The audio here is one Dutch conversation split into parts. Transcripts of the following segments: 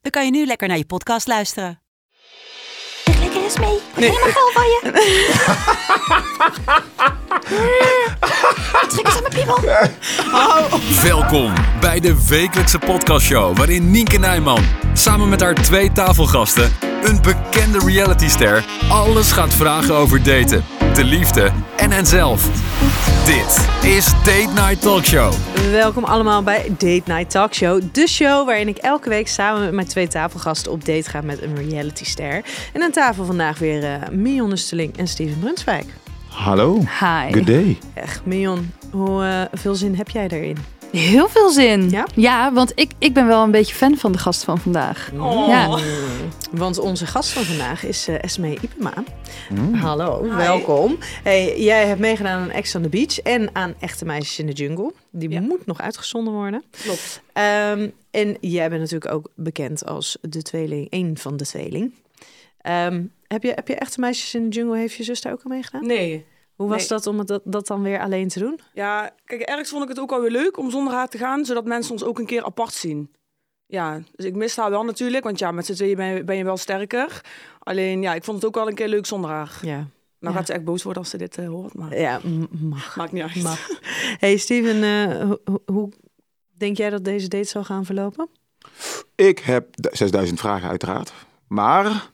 dan kan je nu lekker naar je podcast luisteren. Lekker eens mee. Wat helemaal geil van je. Mm. Trek eens aan mijn piemel. Welkom bij de wekelijkse podcastshow waarin Nienke Nijman samen met haar twee tafelgasten, een bekende realityster, alles gaat vragen over daten, de liefde en henzelf. Dit is Date Night Talk Show. Welkom allemaal bij Date Night Talk Show. De show waarin ik elke week samen met mijn twee tafelgasten op date ga met een realityster. En aan tafel vandaag weer eh Mion Nusteling en Steven Brunswijk. Hallo. Hi. Good day. Echt, Mion, hoe eh, veel zin heb jij daarin? Heel veel zin. Ja? want ik, ik ben wel een beetje fan van de gast van vandaag. Oh. Ja. Want onze gast van vandaag is eh Esme Ipema. Hallo, welkom. Hey, jij hebt meegedaan aan Ex on the Beach en aan Echte Meisjes in de Jungle. Die moet nog uitgezonden worden. Klopt. Ehm, en jij bent natuurlijk ook bekend als de tweeling, één van de tweeling. Ehm, heb, je, heb je Echte Meisjes in de Jungle, heeft je zus daar ook aan meegedaan? Nee. Hoe was nee. dat om het- dat, dat dan weer alleen te doen? Ja, kijk, ergens vond ik het ook alweer leuk om zonder haar te gaan, zodat mensen ons ook een keer apart zien. Ja, dus ik mis haar wel natuurlijk, want ja, met z'n tweeën ben je, ben je wel sterker. Alleen ja, ik vond het ook wel een keer leuk zonder haar. Ja, Nou ja. gaat ze echt boos worden als ze dit eh, hoort, maar ja m- mag. maakt niet uit. mag. Hey Steven, eh, ho- ho- hoe denk jij dat deze date zal gaan verlopen? Ik heb d- 6000 vragen uiteraard. Maar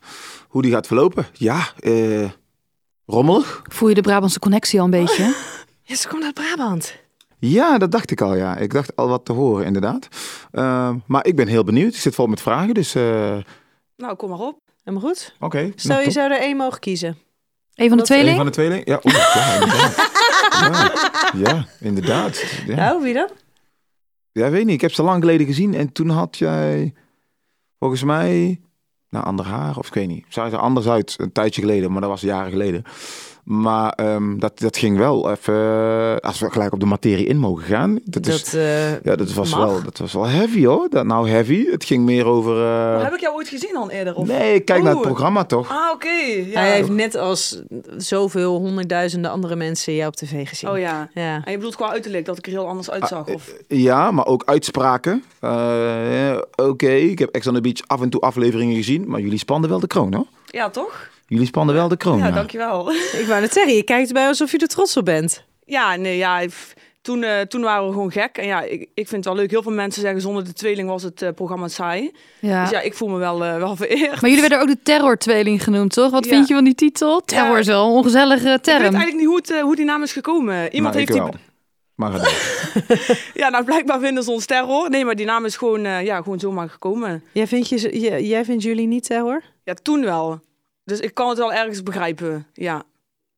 hoe die gaat verlopen? Ja, eh, rommelig. Voel je de Brabantse connectie al een beetje? Ja, ze komt uit Brabant. Ja, dat dacht ik al. Ja, ik dacht al wat te horen inderdaad. Ehm, maar ik ben heel benieuwd. Ik zit vol met vragen, dus eh, oké. Nou, kom maar op. Helemaal goed. Stel, Nou, je top. zou er één mogen kiezen. Een van de Dat- Een tweeling? van de tweeling? Ja, oeh, ja, inderdaad. ja, ja, inderdaad. Ja. Nou, wie dan? ja, weet niet. Ik heb ze lang geleden gezien en toen had jij volgens mij nou, ander haar of ik weet niet. Zij er anders uit een tijdje geleden, maar dat was jaren geleden. Maar ehm, dat, dat ging wel even, eh, als we gelijk op de materie in mogen gaan. Dat, is, eh, ja, dat, was, mag. wel, dat was wel heavy hoor. Dat, nou heavy, het ging meer over... eh, Maar heb ik jou ooit gezien dan eerder? Of? nee, ik kijk naar het Oeh. programma toch. Ah, oké. Ja. Hij heeft net als zoveel honderdduizenden andere mensen jou op tv gezien. Oh ja. Ja. En je bedoelt qua uiterlijk dat ik er heel anders Ah, uitzag? Of... eh, Ja, maar ook uitspraken. Eh, eh, Oké, ik heb Ex on the Beach af en toe afleveringen gezien, maar jullie spanden wel de kroon hoor. Ja, toch? Jullie spanden wel de kroon. Ja, ja. dankjewel. Ik wou net zeggen, je kijkt erbij alsof je er trots op bent. Ja, nee, ja. f- Toen, eh, toen waren we gewoon gek. En ja, ik, ik vind het wel leuk. Heel veel mensen zeggen zonder de tweeling was het eh, programma saai. Ja. Dus ja, ik voel me wel, eh, wel vereerd. Maar jullie werden ook de terror-tweeling genoemd, toch? Wat Ja. vind je van die titel? Terror is wel een ongezellige Ik weet term. eigenlijk niet hoe, het, eh, hoe die naam is gekomen. Iemand Nou, ik heeft die... wel. Maar ga door. Ja, nou blijkbaar vinden ze ons terror. Nee, maar die naam is gewoon, eh, ja, gewoon zomaar gekomen. Jij vindt, je, ze- j- jij vindt jullie niet terror? Ja, toen wel. Dus ik kan het wel ergens begrijpen. Ja,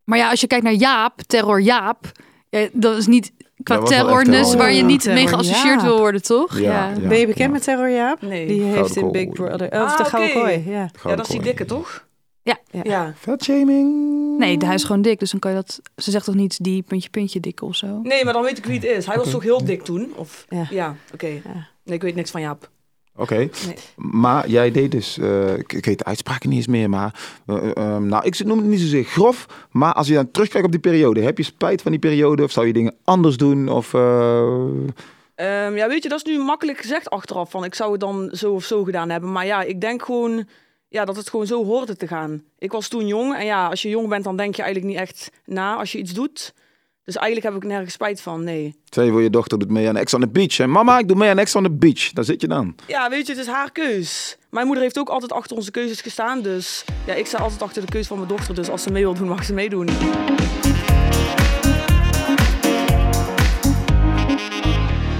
Maar ja, als je kijkt naar Jaap, terror Jaap, ja, dat is niet qua Dat was wel terror echt terror, dus waar ja. je niet mee Terror geassocieerd Jaap. wil worden, toch? Ja, ja. ben je bekend ja. met terror, Jaap? nee. Die heeft Gouden in kooi. Big Brother. Oh, of Ah, de Gouden oké. Kooi, ja. Ja, dat is die dikke, toch? Ja. Ja. ja. Fatshaming. Nee, hij is gewoon dik, dus dan kan je dat... Ze zegt toch niet die puntje puntje dik of zo? Nee, maar dan weet ik wie het is. Hij was toch heel dik toen? Of... Ja. Ja, oké. Nee, ik weet niks van Jaap. Oké, maar jij deed dus, eh, ik, ik weet de uitspraken niet eens meer, maar eh, eh, ehm, nou, ik noem het niet zozeer grof, maar als je dan terugkijkt op die periode, heb je spijt van die periode of zou je dingen anders doen? Of, eh, Ehm, ja, weet je, dat is nu makkelijk gezegd achteraf. Van ik zou het dan zo of zo gedaan hebben. Maar ja, ik denk gewoon ja, dat het gewoon zo hoorde te gaan. Ik was toen jong. En ja, als je jong bent, dan denk je eigenlijk niet echt na als je iets doet. Dus eigenlijk heb ik nergens spijt van. Nee. stel je voor je dochter doet mee aan Ex on the Beach en mama, ik doe mee aan Ex on the Beach, daar zit je dan. Ja, weet je, het is haar keus. Mijn moeder heeft ook altijd achter onze keuzes gestaan. Dus ja, ik sta altijd achter de keus van mijn dochter. Dus als ze mee wil doen, mag ze meedoen.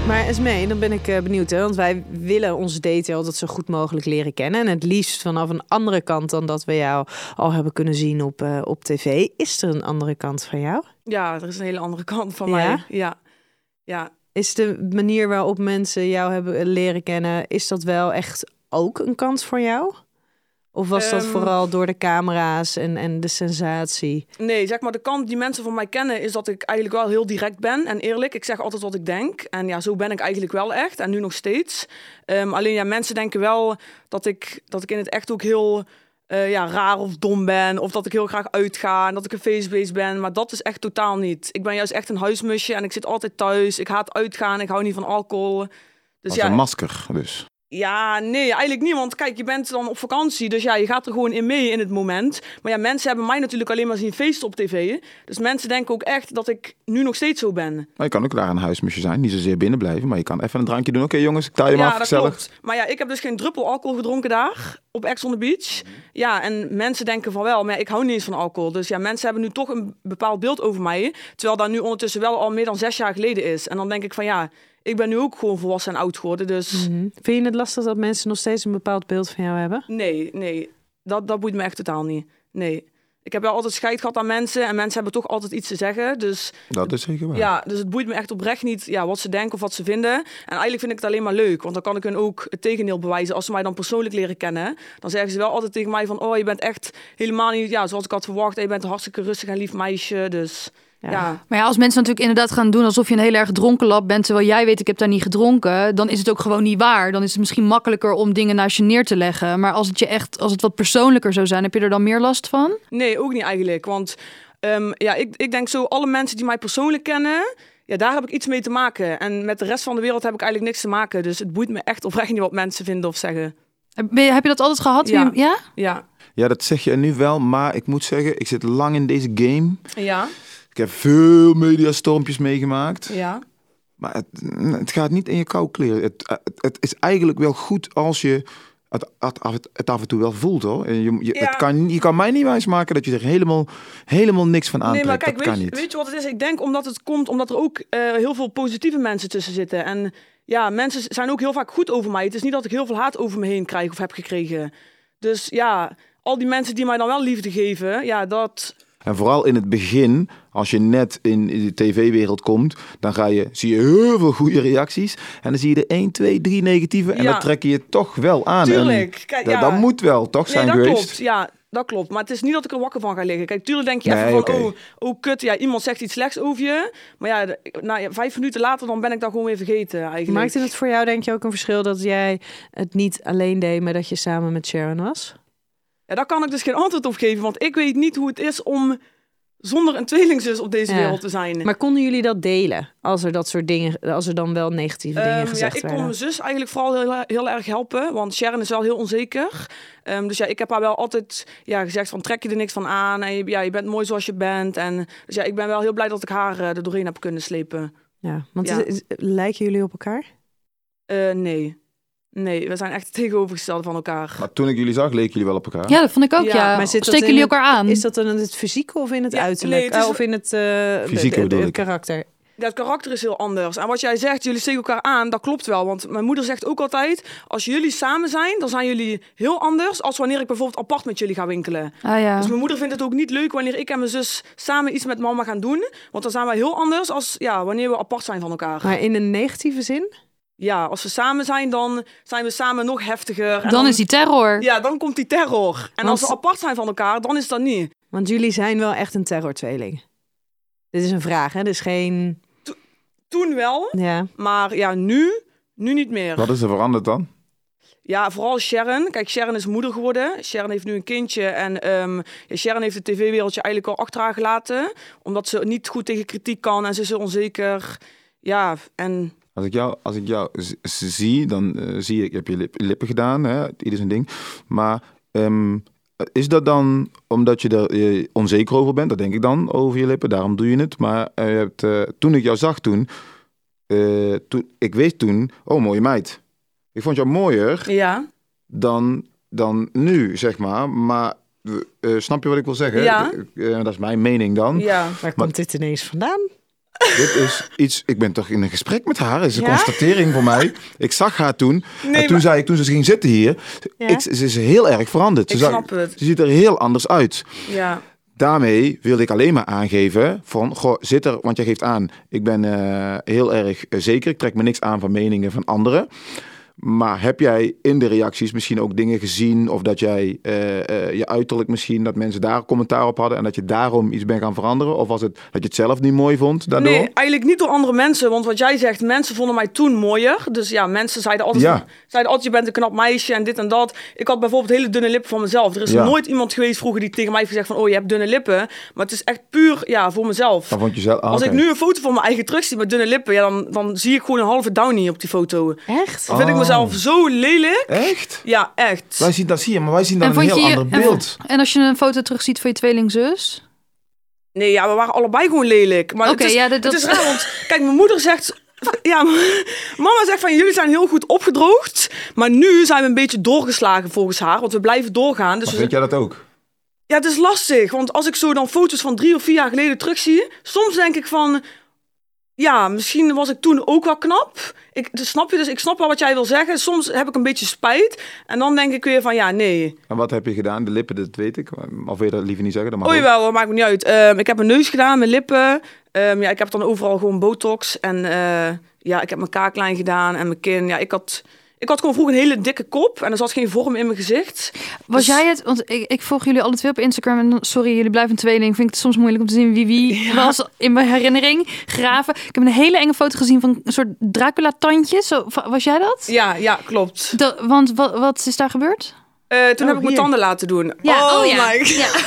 Maar Esmee, dan ben ik eh, benieuwd, hè? want wij willen onze date altijd zo goed mogelijk leren kennen. En het liefst vanaf een andere kant dan dat we jou al hebben kunnen zien op, eh, op tv. Is er een andere kant van jou? Ja, er is een hele andere kant van Ja? mij. Ja. Ja, eh, Is de manier waarop mensen jou hebben leren kennen, is dat wel echt ook een kans voor jou? Of was dat Ehm, vooral door de camera's en, en de sensatie? Nee, zeg maar, de kant die mensen van mij kennen is dat ik eigenlijk wel heel direct ben en eerlijk. Ik zeg altijd wat ik denk. En ja, zo ben ik eigenlijk wel echt en nu nog steeds. Ehm, alleen ja, mensen denken wel dat ik, dat ik in het echt ook heel eh, ja, raar of dom ben. Of dat ik heel graag uitga en dat ik een feestbeest ben. Maar dat is echt totaal niet. Ik ben juist echt een huismusje en ik zit altijd thuis. Ik haat uitgaan, ik hou niet van alcohol. Dus Als ja, een masker dus. ja, nee, eigenlijk niet. Want kijk, je bent dan op vakantie. Dus ja, je gaat er gewoon in mee in het moment. Maar ja, mensen hebben mij natuurlijk alleen maar zien feesten op tv. Dus mensen denken ook echt dat ik nu nog steeds zo ben. Maar je kan ook daar een huismusje zijn. Niet zozeer binnen blijven, maar je kan even een drankje doen. Oké jongens, ik taai hem ja, af, gezellig. Maar ja, ik heb dus geen druppel alcohol gedronken daar. Op Ex on the Beach. Ja, en mensen denken van wel. Maar ja, ik hou niet eens van alcohol. Dus ja, mensen hebben nu toch een bepaald beeld over mij. Terwijl dat nu ondertussen wel al meer dan zes jaar geleden is. En dan denk ik van ja, ik ben nu ook gewoon volwassen en oud geworden. Dus Hm. Vind je het lastig dat mensen nog steeds een bepaald beeld van jou hebben? Nee, nee. Dat, dat boeit me echt totaal niet. Nee. Ik heb wel altijd scheid gehad aan mensen. En mensen hebben toch altijd iets te zeggen. Dus Dat is zeker waar. ja, dus het boeit me echt oprecht niet ja, wat ze denken of wat ze vinden. En eigenlijk vind ik het alleen maar leuk. Want dan kan ik hun ook het tegendeel bewijzen. Als ze mij dan persoonlijk leren kennen, dan zeggen ze wel altijd tegen mij van... Oh, je bent echt helemaal niet ja, zoals ik had verwacht. En je bent een hartstikke rustig en lief meisje. Dus ja, ja, Maar ja, als mensen natuurlijk inderdaad gaan doen alsof je een heel erg dronken lab bent, terwijl jij weet ik heb daar niet gedronken, dan is het ook gewoon niet waar. Dan is het misschien makkelijker om dingen naast je neer te leggen. Maar als het je echt, als het wat persoonlijker zou zijn, heb je er dan meer last van? Nee, ook niet eigenlijk. Want ehm, ja, ik, ik denk zo, alle mensen die mij persoonlijk kennen, ja, daar heb ik iets mee te maken. En met de rest van de wereld heb ik eigenlijk niks te maken. Dus het boeit me echt oprecht niet wat mensen vinden of zeggen. Heb ben je, heb je dat altijd gehad? Ja. Wie- ja? Ja, Ja, dat zeg je nu wel, maar ik moet zeggen, ik zit lang in deze game. ja, Ik heb veel mediastormpjes meegemaakt. ja. Maar het, het gaat niet in je kou kleren. Het, het, het is eigenlijk wel goed als je het, het, het- het af en toe wel voelt hoor. En je, je, Ja. het kan, je kan mij niet wijsmaken dat je er helemaal, helemaal niks van aantrekt. Nee, maar kijk, dat weet, kan je- niet. weet je wat het is? Ik denk omdat het komt omdat er ook eh, heel veel positieve mensen tussen zitten. En ja, mensen zijn ook heel vaak goed over mij. Het is niet dat ik heel veel haat over me heen krijg of heb gekregen. Dus ja, al die mensen die mij dan wel liefde geven, ja, dat... En vooral in het begin, als je net in de tv-wereld komt, dan ga je, zie je heel veel goede reacties. En dan zie je er 1, 2, 3 negatieve. En Ja. dat trek je je toch wel aan. Tuurlijk. En Kijk, dat- ja. Dat moet wel toch zijn nee, dat geweest. Klopt. Ja, dat klopt. Maar het is niet dat ik er wakker van ga liggen. Kijk, tuurlijk denk je Nee, even van, oké. oh, oh kut, ja, iemand zegt iets slechts over je. Maar ja, d- na, ja, vijf minuten later dan ben ik dat gewoon weer vergeten eigenlijk. Maakte het voor jou denk je ook een verschil dat jij het niet alleen deed, maar dat je samen met Sharon was? Ja, daar kan ik dus geen antwoord op geven, want ik weet niet hoe het is om zonder een tweelingzus op deze Ja. wereld te zijn. Maar konden jullie dat delen als er dat soort dingen, als er dan wel negatieve dingen Ehm, gezegd ja, ik kon werden? mijn zus eigenlijk vooral heel, heel erg helpen, want Sharon is wel heel onzeker. Ehm, dus ja, ik heb haar wel altijd ja, gezegd van trek je er niks van aan en je, ja, je bent mooi zoals je bent. En, dus ja, ik ben wel heel blij dat ik haar eh, er doorheen heb kunnen slepen. Ja, want Ja. is- is- lijken jullie op elkaar? Eh, nee. Nee, we zijn echt het tegenovergestelde van elkaar. Maar toen ik jullie zag, leken jullie wel op elkaar. Ja, dat vond ik ook. Ja, Ja. maar zit dat Steken in jullie het- elkaar aan? Is dat dan in het fysieke of in het Ja, uiterlijk? nee, het is- Ah, of in het eh, de- Fysieke de- de- bedoel de ik. karakter? Ja, het karakter is heel anders. En wat jij zegt, jullie steken elkaar aan, dat klopt wel. Want mijn moeder zegt ook altijd, als jullie samen zijn, dan zijn jullie heel anders... als wanneer ik bijvoorbeeld apart met jullie ga winkelen. ah, ja. Dus mijn moeder vindt het ook niet leuk wanneer ik en mijn zus samen iets met mama gaan doen. Want dan zijn wij heel anders als ja, wanneer we apart zijn van elkaar. Maar in een negatieve zin? Ja, als we samen zijn, dan zijn we samen nog heftiger. En dan, is die terror. Ja, dan komt die terror. En Want- als we apart zijn van elkaar, dan is dat niet. Want jullie zijn wel echt een terrortweeling. Dit is een vraag, hè? Dit is geen... Toen wel, Ja. maar ja, nu... Nu niet meer. Wat is er veranderd dan? Ja, vooral Sharon. Kijk, Sharon is moeder geworden. Sharon heeft nu een kindje. En ehm, ja, Sharon heeft het tv-wereldje eigenlijk al achter haar gelaten. Omdat ze niet goed tegen kritiek kan en ze is heel onzeker. Ja, en Als ik jou, als ik jou z- z- zie, dan eh, zie ik, je hebt je lip- lippen gedaan, hè? ieder zijn ding. Maar ehm, is dat dan omdat je er eh, onzeker over bent? Dat denk ik dan, over je lippen, daarom doe je het. Maar eh, je hebt, eh, toen ik jou zag toen, eh, toen, ik wist toen, oh mooie meid. Ik vond jou mooier ja. dan, dan nu, zeg maar. Maar eh, snap je wat ik wil zeggen? Ja. Eh, dat is mijn mening dan. ja. Waar komt dit ineens vandaan? Dit is iets. Ik ben toch in een gesprek met haar. Is een Ja? constatering voor mij. Ik zag haar toen. en Nee, toen zei ik, toen ze ging zitten hier. Ja. Ik, ze is heel erg veranderd. Ze, Ik zag- snap het. ze ziet er heel anders uit. Ja, Daarmee wilde ik alleen maar aangeven van, goh, zit er, want jij geeft aan, ik ben eh, heel erg eh, zeker, ik trek me niks aan van meningen van anderen. Maar heb jij in de reacties misschien ook dingen gezien of dat jij eh, eh, je uiterlijk misschien, dat mensen daar commentaar op hadden en dat je daarom iets bent gaan veranderen? Of was het dat je het zelf niet mooi vond daardoor? Nee, eigenlijk niet door andere mensen. Want wat jij zegt, mensen vonden mij toen mooier. Dus ja, mensen zeiden altijd, Ja. zeiden altijd je bent een knap meisje en dit en dat. Ik had bijvoorbeeld hele dunne lippen van mezelf. Er is Ja. nooit iemand geweest vroeger die tegen mij heeft gezegd van... oh, je hebt dunne lippen. Maar het is echt puur ja, voor mezelf. Dan vond je zelf. ah, Als ik oké. nu een foto van mijn eigen terug zie met dunne lippen... Ja, dan, dan zie ik gewoon een halve downie op die foto. Echt? Dan vind ik Oh. mezelf zo lelijk. Echt? Ja, echt. Wij zien dat zie je, maar wij zien dan Nou, een vond heel je- ander en vo- beeld. En als je een foto terugziet van je tweelingzus? Nee, ja, we waren allebei gewoon lelijk. Maar Oké, het, is, ja, dat- dat- het is raar, want kijk, mijn moeder zegt... Ja, mama zegt van jullie zijn heel goed opgedroogd. Maar nu zijn we een beetje doorgeslagen volgens haar. Want we blijven doorgaan. Dus Maar we- vind jij dat ook? ja, het is lastig. Want als ik zo dan foto's van drie of vier jaar geleden terugzie... Soms denk ik van... Ja, misschien was ik toen ook wel knap. Ik, dus snap je? Dus ik snap wel wat jij wil zeggen. Soms heb ik een beetje spijt. En dan denk ik weer van ja, nee. En wat heb je gedaan? De lippen, dat weet ik. Of wil je dat liever niet zeggen? Dat mag Oh ook. jawel, dat maakt me niet uit. Ehm, ik heb mijn neus gedaan, mijn lippen. Ehm, ja, ik heb dan overal gewoon botox. En eh, ja, ik heb mijn kaaklijn gedaan en mijn kin. Ja, ik had, ik had gewoon vroeger een hele dikke kop. En er zat geen vorm in mijn gezicht. Was Dus- jij het? Want ik, ik volg jullie alle twee op Instagram. En dan- sorry, jullie blijven een tweeling. Vind ik het soms moeilijk om te zien wie wie was in mijn herinnering. Graven. Ik heb een hele enge foto gezien van een soort Dracula-tandjes. Zo, va- Was jij dat? Ja, ja, klopt. Dat- want wat, wat is daar gebeurd? Eh, toen heb ik mijn hier. tanden laten doen. oh Oh my god.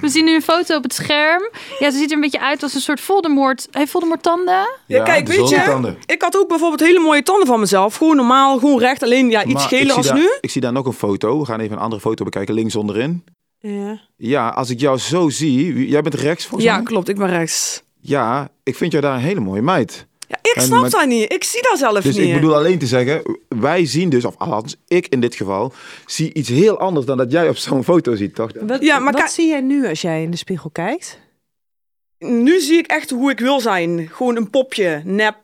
We zien nu een foto op het scherm. Ja, ze ziet er een beetje uit als een soort Voldemort. Heeft Voldemort tanden? Ja, kijk, de weet je, zonnetanden. ik had ook bijvoorbeeld hele mooie tanden van mezelf. Gewoon normaal, gewoon recht. Alleen ja, iets Maar ik geler zie als daar- nu. Ik zie daar nog een foto. We gaan even een andere foto bekijken, links onderin. Ja. Ja, als ik jou zo zie, jij bent rechts volgens Ja, mij? klopt. Ik ben rechts. Ja, ik vind jou daar een hele mooie meid. Ja, ik En snap met- dat niet. Ik zie dat zelf Dus niet. ik bedoel alleen te zeggen, wij zien dus, of althans ik in dit geval, zie iets heel anders dan dat jij op zo'n foto ziet, toch? Wat, Ja, maar wat kijk- zie jij nu als jij in de spiegel kijkt? nu zie ik echt hoe ik wil zijn. Gewoon een popje, nep.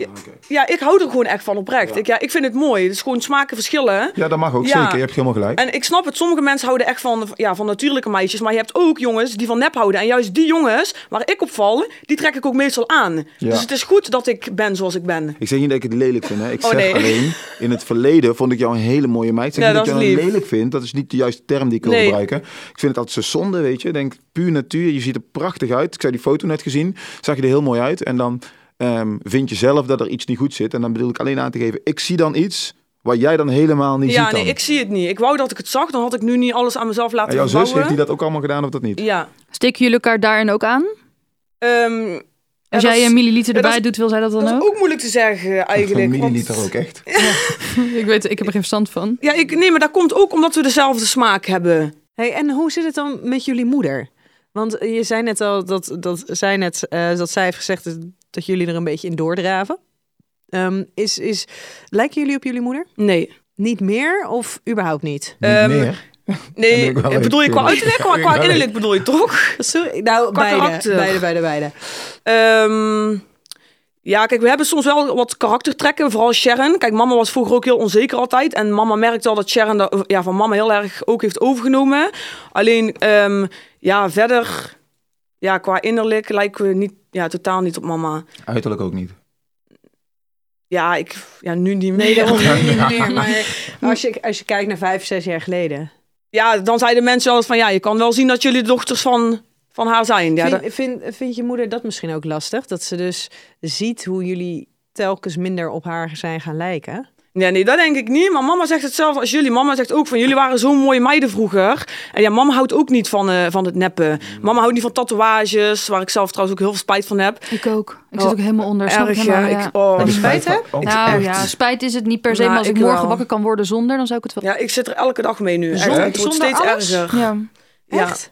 Ah, Ja, ja, ik hou er gewoon echt van oprecht. Ik, ja, ik vind het mooi. Het is gewoon smaken verschillen. Ja, dat mag ook, Ja. zeker. Je hebt helemaal gelijk. En ik snap het, sommige mensen houden echt van, ja, van natuurlijke meisjes. Maar je hebt ook jongens die van nep houden. En juist die jongens waar ik op val, die trek ik ook meestal aan. Ja. Dus het is goed dat ik ben zoals ik ben. Ik zeg niet dat ik het lelijk vind, hè. Ik Oh, zeg nee. alleen, in het verleden vond ik jou een hele mooie meid. Ik zeg Ja, niet dat dat, ik is jou lief. lelijk vind, dat is niet de juiste term die ik wil Nee. gebruiken. Ik vind het altijd zo zonde, weet je. Ik denk, puur natuur, je ziet er prachtig uit. Ik zei die foto net gezien, zag je er heel mooi uit. En dan ehm, vind je zelf dat er iets niet goed zit. En dan bedoel ik alleen aan te geven, ik zie dan iets wat jij dan helemaal niet ja, ziet dan. nee, ik zie het niet. Ik wou dat ik het zag, dan had ik nu niet alles aan mezelf laten En jouw zus, heeft verbouwen. die dat ook allemaal gedaan of dat niet? Ja. Steken jullie elkaar daarin ook aan? Ehm, ja, Als dat jij is- een milliliter ja, dat erbij is- doet, wil zij dat dan Dat is ook? ook moeilijk te zeggen eigenlijk. Een want- milliliter ook, echt. Ik weet, ik heb er geen verstand van. Ja, ik, nee, maar dat komt ook omdat we dezelfde smaak hebben. Hey, en hoe zit het dan met jullie moeder? Want je zei net al dat, dat, zij, net, eh, dat zij heeft gezegd dat- dat jullie er een beetje in doordraven. Ehm, is, is, lijken jullie op jullie moeder? Nee. Niet meer of überhaupt niet? Niet Ehm, meer. Nee, ik wel eh, bedoel je even- qua uiterlijk, qua, qua innerlijk bedoel je toch? Sorry, nou, Qua beide, karakter. beide, beide, beide. Ehm, ja, kijk, we hebben soms wel wat karaktertrekken, vooral Sharon. Kijk, mama was vroeger ook heel onzeker altijd. En mama merkt wel dat Sharon dat, ja, van mama heel erg ook heeft overgenomen. Alleen, ehm, ja, verder, ja, qua innerlijk lijken we niet, ja, totaal niet op mama. Uiterlijk ook niet. Ja, ik, ja, nu niet meer. Nee, daarom niet meer. Maar als je, als je kijkt naar vijf, zes jaar geleden. Ja, dan zeiden mensen wel eens van, ja, je kan wel zien dat jullie dochters van, van haar zijn. Ja, dat- Vind, vind, vind je moeder dat misschien ook lastig? Dat ze dus ziet hoe jullie telkens minder op haar zijn gaan lijken? Nee, nee, dat denk ik niet. Maar mama zegt hetzelfde als jullie. Mama zegt ook van jullie waren zo'n mooie meiden vroeger. En ja, mama houdt ook niet van, eh, van het neppen. Mama houdt niet van tatoeages, waar ik zelf trouwens ook heel veel spijt van heb. Ik ook. Ik zit ook helemaal onder. snap ik Erg, ja. helemaal, Oh, Ik, ja. oh. Heb je spijt, hè? van? Oh, nou echt? ja, spijt is het niet per se, Nou, maar als ik, ik morgen wel. wakker kan worden zonder, dan zou ik het wel. ja, ik zit er elke dag mee nu. Echt, Zonder- het wordt zonder steeds alles? erger. Ja. Ja. Echt?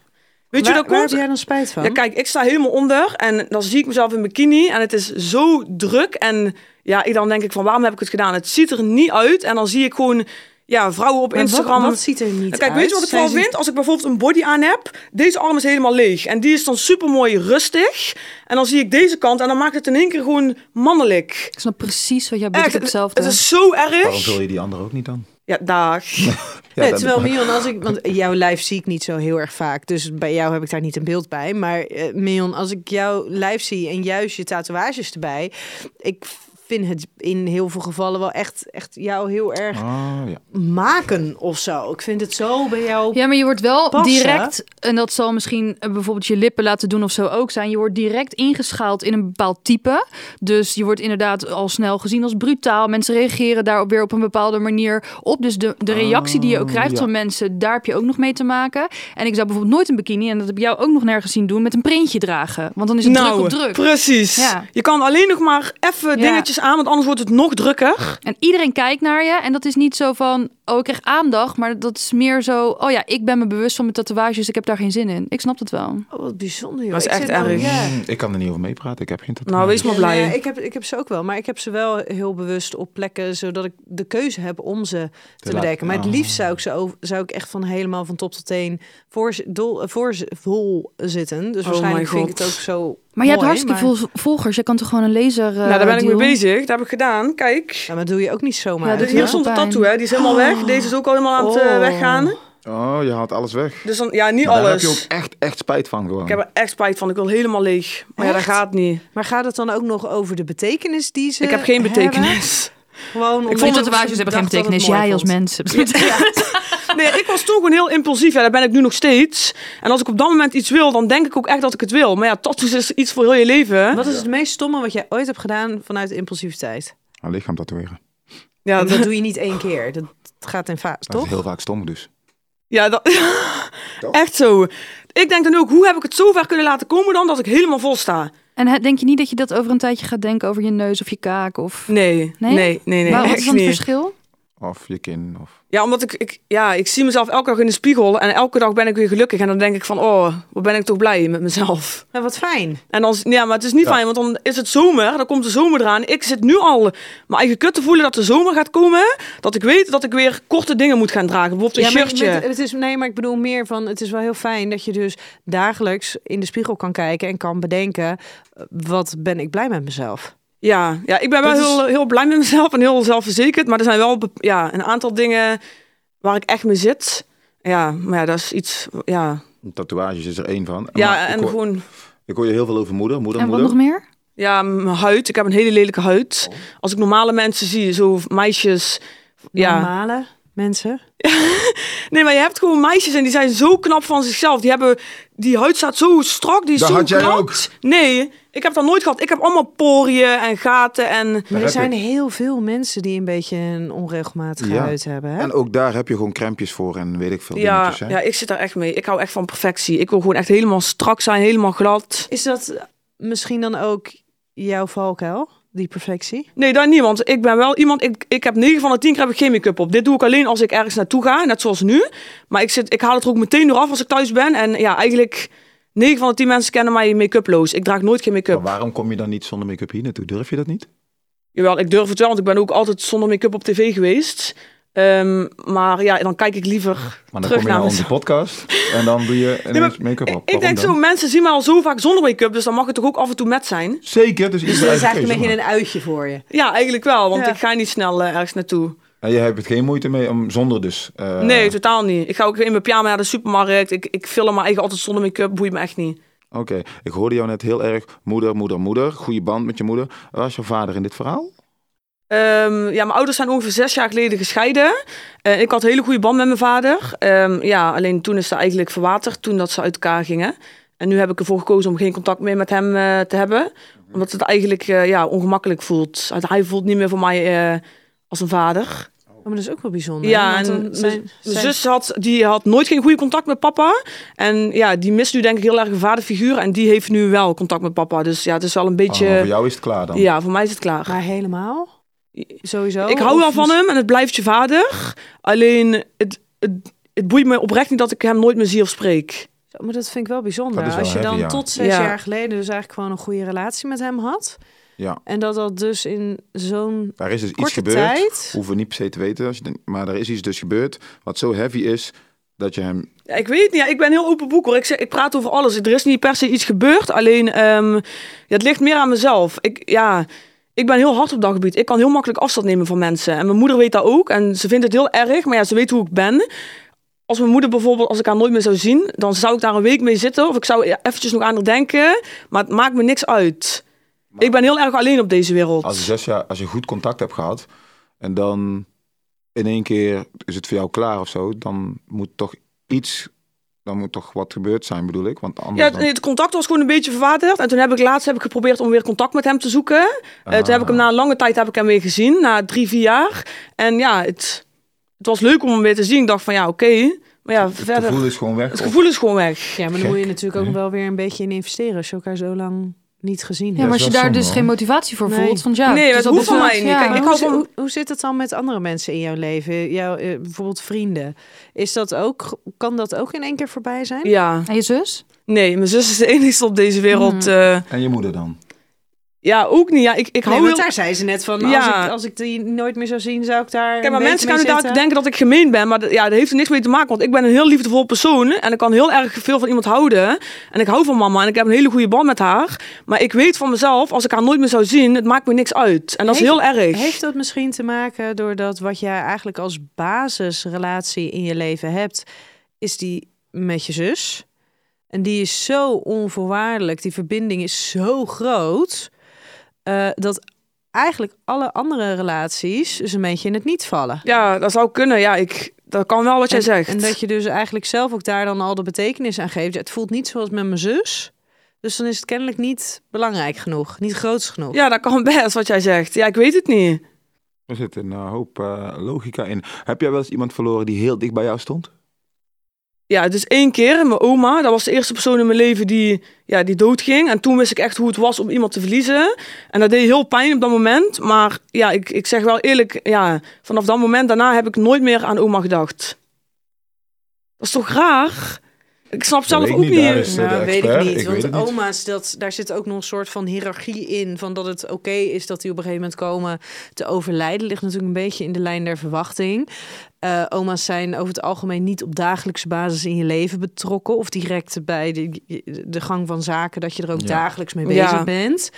Weet je, Waar- dat waar komt... heb jij dan spijt van? Ja, kijk, ik sta helemaal onder en dan zie ik mezelf in bikini en het is zo druk. En ja, ik dan denk ik van waarom heb ik het gedaan? Het ziet er niet uit. En dan zie ik gewoon ja, vrouwen op Maar wat- Instagram. Wat, ziet er niet Kijk, weet je wat ik Zijn vooral ze- vind? Als ik bijvoorbeeld een body aan heb, deze arm is helemaal leeg. En die is dan super mooi rustig. En dan zie ik deze kant en dan maakt het in één keer gewoon mannelijk. Ik snap precies wat jij bedoelt. Echt, Ik het, hetzelfde. is zo Waarom erg. vul je die andere ook niet dan? Ja, dag. Ja, nee, dat- terwijl Mion, als ik, want jouw lijf zie ik niet zo heel erg vaak, dus bij jou heb ik daar niet een beeld bij. Maar eh Mion, als ik jouw lijf zie en juist je tatoeages erbij, ik vind het in heel veel gevallen wel echt, echt jou heel erg Ah, ja. maken of zo. Ik vind het zo bij jou. Ja, maar je wordt wel Passen. direct, en dat zal misschien eh, bijvoorbeeld je lippen laten doen of zo ook zijn. Je wordt direct ingeschaald in een bepaald type. Dus je wordt inderdaad al snel gezien als brutaal. Mensen reageren daarop weer op een bepaalde manier op. Dus de, de reactie die je ook Oh, Ah, krijgt ja. van mensen, daar heb je ook nog mee te maken. En ik zou bijvoorbeeld nooit een bikini, en dat heb ik jou ook nog nergens zien doen, met een printje dragen. Want dan is het Nou, druk op druk. precies. Ja. Je kan alleen nog maar even Ja. dingetjes aan, want anders wordt het nog drukker. En iedereen kijkt naar je. En dat is niet zo van, oh, ik krijg aandacht. Maar dat is meer zo, oh ja, ik ben me bewust van mijn tatoeages. Ik heb daar geen zin in. Ik snap dat wel. Oh, wat bijzonder. Joh. Dat is Ik echt zit nou- erg. Ja. Mm, Ik kan er niet over meepraten. Ik heb geen tatoeage. Nou, wees maar blij. Ja, ik, heb, ik heb ze ook wel, maar ik heb ze wel heel bewust op plekken, zodat ik de keuze heb om ze te laten- bedekken. Maar het Oh. Ah. liefst zou ik ze over- zou ik echt van helemaal van top tot teen voor, ze- dol, voor ze- vol zitten. Dus Oh my waarschijnlijk vind ik God. het ook zo. Maar je hebt mooi, hartstikke maar- veel volgers. Je kan toch gewoon een laser. eh, nou, daar ben ik mee deal? bezig. Dat heb ik gedaan. Kijk. Ja, maar dat doe je ook niet zomaar. Ja, uit, dat hoor. Hier stond de pijn. Oh. tattoo, hè? Die is helemaal weg. Deze is ook al helemaal aan het eh, Oh. weggaan. Oh, je haalt alles weg. Dus dan, ja, niet Maar Daar heb alles. je ook echt, echt spijt van gewoon. Ik heb er echt spijt van. Ik wil helemaal leeg. Maar ja, Echt? dat gaat niet. Maar gaat het dan ook nog over de betekenis die ze Ik heb geen hebben? betekenis. Gewoon Ik omdat vond je Mijn op tatoeages zo'n hebben geen dag dat het betekenis. mooi Jij als vond. mens. hebt- Nee, ik was toen gewoon heel impulsief. Ja, dat ben ik nu nog steeds. En als ik op dat moment iets wil, dan denk ik ook echt dat ik het wil. Maar ja, tattoos is iets voor heel je leven. Wat is het meest stomme wat jij ooit hebt gedaan vanuit impulsiviteit? Haar lichaam tatoeëren. Ja, Want dat, dat doe je niet één keer. Dat gaat in fases, Dat is toch? heel vaak stom dus. ja, dat echt zo. Ik denk dan ook, hoe heb ik het zo ver kunnen laten komen dan dat ik helemaal vol sta? en hè, denk je niet dat je dat over een tijdje gaat denken over je neus of je kaak? Of... Nee, Nee? nee, nee, nee, Waar- wat is echt dan het niet. verschil? Of je kin. Of... Ja, omdat ik, ik, ja, ik zie mezelf elke dag in de spiegel en elke dag ben ik weer gelukkig. En dan denk ik van, oh, wat ben ik toch blij met mezelf. Nou, wat fijn. En dan, is- ja, maar het is niet Ja. fijn, want dan is het zomer, dan komt de zomer eraan. Ik zit nu al mijn eigen kut te voelen dat de zomer gaat komen. Dat ik weet dat ik weer korte dingen moet gaan dragen. Bijvoorbeeld een maar shirtje. Het, het is, nee, maar ik bedoel meer van... Het is wel heel fijn dat je dus dagelijks in de spiegel kan kijken... en kan bedenken, eh, wat ben ik blij met mezelf? Ja, ja, ik ben wel Dat is- heel, heel blij met mezelf en heel zelfverzekerd. Maar er zijn wel bep- ja, een aantal dingen waar ik echt mee zit. Ja, maar ja, dat is iets. Ja, Tatoeages is er één van. Maar ja ik en hoor, gewoon. Ik hoor je heel veel over moeder, moeder, En wat moeder. nog meer? Ja, mijn huid. Ik heb een hele lelijke Oh. huid. Als ik normale mensen zie, zo meisjes. Ja. Normale mensen. Nee, maar je hebt gewoon meisjes en die zijn zo knap van zichzelf. Die hebben, die huid staat zo strak, die is Dat zo had jij knap. ook. Nee, ik heb dat nooit gehad. Ik heb allemaal poriën en gaten en... Maar er heb zijn heel veel mensen die een beetje een onregelmatige Ja. huid hebben. Hè? En ook daar heb je gewoon crampjes voor en weet ik veel Ja, dingetjes. hè? ja, ik zit daar echt mee. Ik hou echt van perfectie. Ik wil gewoon echt helemaal strak zijn, helemaal glad. Is dat misschien dan ook jouw valkuil, die perfectie? Nee, daar niet, want ik ben wel iemand... Ik, ik heb 9 van de 10 keer heb ik geen make-up op. Dit doe ik alleen als ik ergens naartoe ga, net zoals nu. Maar ik, zit, ik haal het er ook meteen door af als ik thuis ben. En ja, eigenlijk 9 van de 10 mensen kennen mij make-uploos. Ik draag nooit geen Maar make-up. waarom kom je dan niet zonder make-up hier naartoe? Durf je dat niet? Jawel, ik durf het wel, want ik ben ook altijd zonder make-up op tv geweest. Ehm, maar ja, dan kijk ik liever Maar dan terug kom je naar nou naar onze mezelf. podcast en dan doe je ineens make-up op. Ik Waarom denk dan? zo, mensen zien mij al zo vaak zonder make-up, dus dan mag het toch ook af en toe met zijn? Zeker, dus Dus iedereen dat is eigenlijk een beetje een uitje voor je. Ja, eigenlijk wel, want Ja. ik ga niet snel eh, ergens naartoe. En je hebt het geen moeite mee om zonder dus. eh, Nee, totaal niet. Ik ga ook in mijn pyjama naar de supermarkt. Ik, ik film mijn eigen altijd zonder make-up, boeit me echt niet. Oké, ik hoorde jou net heel erg moeder, moeder, moeder. Goede band met je moeder. Was jouw vader in dit verhaal? Ehm, ja, mijn ouders zijn ongeveer zes jaar geleden gescheiden. Eh, ik had een hele goede band met mijn vader. Ehm, ja, alleen toen is dat eigenlijk verwaterd, toen dat ze uit elkaar gingen. En nu heb ik ervoor gekozen om geen contact meer met hem eh, te hebben. Omdat het eigenlijk eh, ja, ongemakkelijk voelt. Hij voelt niet meer voor mij eh, als een vader. Oh, maar dat is ook wel bijzonder. Ja, hè? Want en dan mijn- zijn- Mijn zijn- zus had, die had nooit geen goede contact met papa. En ja, die mist nu denk ik heel erg een vaderfiguur. En die heeft nu wel contact met papa. Dus ja, het is wel een beetje... Oh, voor jou is het klaar dan. ja, voor mij is het klaar. Maar helemaal? Sowieso? ik hou Of wel van hem en het blijft je vader. Alleen, het, het, het boeit me oprecht niet dat ik hem nooit meer zie of spreek. Zo, Maar dat vind ik wel bijzonder. Dat is wel Als je heavy, dan ja. tot zes Ja. jaar geleden dus eigenlijk gewoon een goede relatie met hem had. Ja. En dat dat dus in zo'n Er is dus iets korte gebeurd. tijd... Hoeven we niet per se te weten. Als je denkt, maar er is iets dus gebeurd wat zo heavy is dat je hem... Ja, ik weet niet. Ja, ik ben heel open boek hoor. Ik, zeg, ik praat over alles. Er is niet per se iets gebeurd. Alleen, ehm, ja, het ligt meer aan mezelf. Ik, ja, ik ben heel hard op dat gebied. Ik kan heel makkelijk afstand nemen van mensen. En mijn moeder weet dat ook. En ze vindt het heel erg. Maar ja, ze weet hoe ik ben. Als mijn moeder bijvoorbeeld, als ik haar nooit meer zou zien, dan zou ik daar een week mee zitten. Of ik zou eventjes nog aan haar denken. Maar het maakt me niks uit. Ik ben heel erg alleen op deze wereld. Als je zes jaar, als je goed contact hebt gehad en dan in één keer is het voor jou klaar of zo, dan moet toch iets, dan moet toch wat gebeurd zijn, bedoel ik. Want anders Ja, dan- het, het contact was gewoon een beetje verwaterd. En toen heb ik laatst heb ik geprobeerd om weer contact met hem te zoeken. Eh, toen heb ik hem Ah. na een lange tijd heb ik hem weer gezien, na drie, vier jaar. En ja, het, het was leuk om hem weer te zien. Ik dacht van ja, oké. Maar ja, het verder. gevoel is gewoon weg. Het Of- gevoel is gewoon weg. Ja, maar dan Gek. moet je natuurlijk ook wel weer een beetje in investeren als je elkaar zo lang niet gezien Ja, hebt. dat maar is als je daar wel zonde, dus hoor. geen motivatie voor Nee. voelt, want ja... Nee, het is dat al hoeft van bedoeld, mij niet. ja. Kijk, Maar ik hoe, hou zi- van- hoe, hoe zit het dan met andere mensen in jouw leven? Jouw, eh, bijvoorbeeld vrienden. Is dat ook, kan dat ook in één keer voorbij zijn? Ja, En je zus? nee, mijn zus is de enige op deze wereld. Hmm. eh, En je moeder dan? ja, ook niet. Ja, ik, ik Nee, hou want heel... daar zei ze net van, Ja. als, ik, als ik die nooit meer zou zien, zou ik daar Kijk, maar een mensen beetje gaan mee inderdaad zitten. denken dat ik gemeen ben, maar dat- ja, dat heeft er niks mee te maken. Want ik ben een heel liefdevol persoon en ik kan heel erg veel van iemand houden. En ik hou van mama en ik heb een hele goede band met haar. Maar ik weet van mezelf, als ik haar nooit meer zou zien, het maakt me niks uit. En dat is heel Heeft- erg. Heeft dat misschien te maken doordat wat jij eigenlijk als basisrelatie in je leven hebt, is die met je zus? En die is zo onvoorwaardelijk, die verbinding is zo groot, eh, dat eigenlijk alle andere relaties dus een beetje in het niet vallen. Ja, dat zou kunnen. Ja, ik, dat kan wel wat jij en, zegt. En dat je dus eigenlijk zelf ook daar dan al de betekenis aan geeft. Ja, Het voelt niet zoals met mijn zus. Dus dan is het kennelijk niet belangrijk genoeg, niet groots genoeg. Ja, dat kan best wat jij zegt. Ja, ik weet het niet. Er zit een eh, hoop eh, logica in. Heb jij wel eens iemand verloren die heel dicht bij jou stond? Ja, dus één keer, mijn oma, dat was de eerste persoon in mijn leven die, ja, die doodging. En toen wist ik echt hoe het was om iemand te verliezen. En dat deed heel pijn op dat moment. Maar ja, ik, ik zeg wel eerlijk, ja, vanaf dat moment daarna heb ik nooit meer aan oma gedacht. Dat is toch raar? Ik snap zelf weet ik ook niet, daar is- niet. de Nou, weet ik expert, niet. ik want weet het niet. oma's, dat, daar zit ook nog een soort van hiërarchie in. Van dat het oké is dat die op een gegeven moment komen te overlijden. Ligt natuurlijk een beetje in de lijn der verwachting. Eh, oma's zijn over het algemeen niet op dagelijkse basis in je leven betrokken. Of direct bij de, de gang van zaken dat je er ook Ja. dagelijks mee bezig Ja. bent.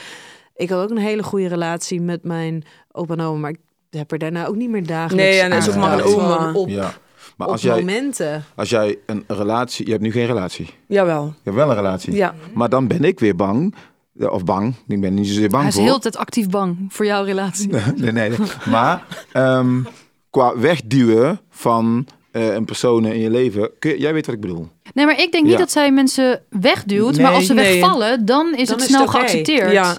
Ik had ook een hele goede relatie met mijn opa en oma. Maar ik heb er daarna ook niet meer dagelijks Nee, en dat is ook maar aandacht een oma. gewoon Op, Ja. Maar op als jij, momenten. als jij een relatie... Je hebt nu geen relatie. Jawel. Je hebt wel een relatie. Ja. Maar dan ben ik weer bang. Ja, Of bang. Ik ben niet zozeer bang Hij is voor. heel de tijd actief bang voor jouw relatie. nee, nee, nee. Maar ehm, qua wegduwen van eh, een persoon in je leven... kun je- jij weet wat ik bedoel. Nee, maar ik denk niet Ja. dat zij mensen wegduwt. maar Nee, als ze nee. wegvallen, dan is Dan het is snel het oké. geaccepteerd. Ja.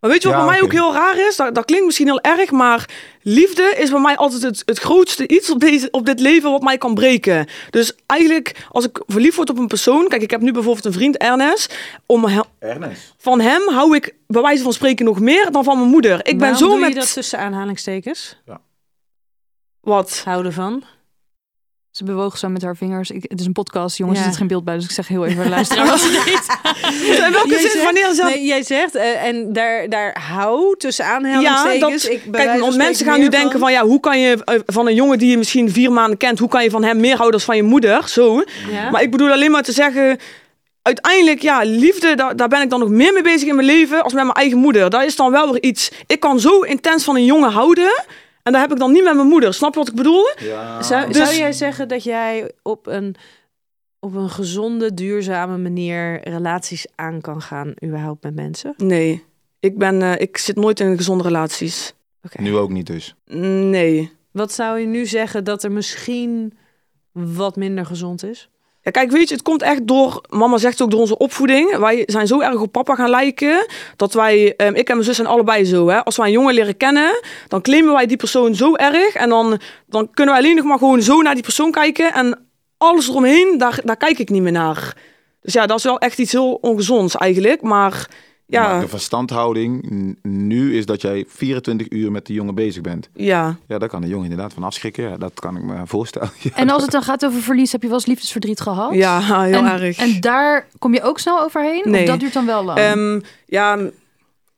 Maar weet je wat Ja, bij mij oké. ook heel raar is? Dat, dat klinkt misschien heel erg, maar liefde is bij mij altijd het, het grootste iets op, deze, op dit leven wat mij kan breken. Dus eigenlijk, als ik verliefd word op een persoon... Kijk, ik heb nu bijvoorbeeld een vriend, Ernest. Om he- Ernest. van hem hou ik bij wijze van spreken nog meer dan van mijn moeder. Ik ben Waarom zo doe met... je dat tussen aanhalingstekens? Wat? Houden van? Ze bewoog zo met haar vingers. Ik, het is een podcast, jongens. Ja. Er zit geen beeld bij, dus ik zeg heel even luisteren. was het niet. In welke Jij zin? zegt- Wanneer zelf... Nee, jij zegt, eh, en daar, daar hou tussen Ja, dat, aanhalingstekens. ik, bij kijk, wijze want spreken mensen gaan nu meer denken van ja, hoe kan je eh, van een jongen die je misschien vier maanden kent, hoe kan je van hem meer houden dan van je moeder? Zo. Ja. Maar ik bedoel alleen maar te zeggen. Uiteindelijk, ja, liefde, daar, daar ben ik dan nog meer mee bezig in mijn leven als met mijn eigen moeder. Dat is dan wel weer iets. Ik kan zo intens van een jongen houden. En dat heb ik dan niet met mijn moeder. Snap je wat ik bedoel? Ja. zou, dus- zou jij zeggen dat jij op een, op een gezonde, duurzame manier relaties aan kan gaan, überhaupt met mensen? Nee. Ik, ben, eh, ik zit nooit in gezonde relaties. Oké. Nu ook niet dus. Nee. Wat zou je nu zeggen dat er misschien wat minder gezond is? Ja, kijk, weet je, het komt echt door, mama zegt ook door onze opvoeding. Wij zijn zo erg op papa gaan lijken, dat wij, ehm, ik en mijn zus zijn allebei zo. Hè. Als wij een jongen leren kennen, dan claimen wij die persoon zo erg. En dan, dan kunnen wij alleen nog maar gewoon zo naar die persoon kijken. En alles eromheen, daar, daar kijk ik niet meer naar. Dus ja, dat is wel echt iets heel ongezonds eigenlijk. Maar ja, Maar de verstandhouding n- nu is dat jij 24 uur met die jongen bezig bent. ja. Ja, daar kan de jongen inderdaad van afschrikken. Ja, dat kan ik me voorstellen. Ja. En als het dan gaat over verlies, heb je wel eens liefdesverdriet gehad? ja, heel en, erg. En daar kom je ook snel overheen? Nee. Of dat duurt dan wel lang? Ehm, ja, m-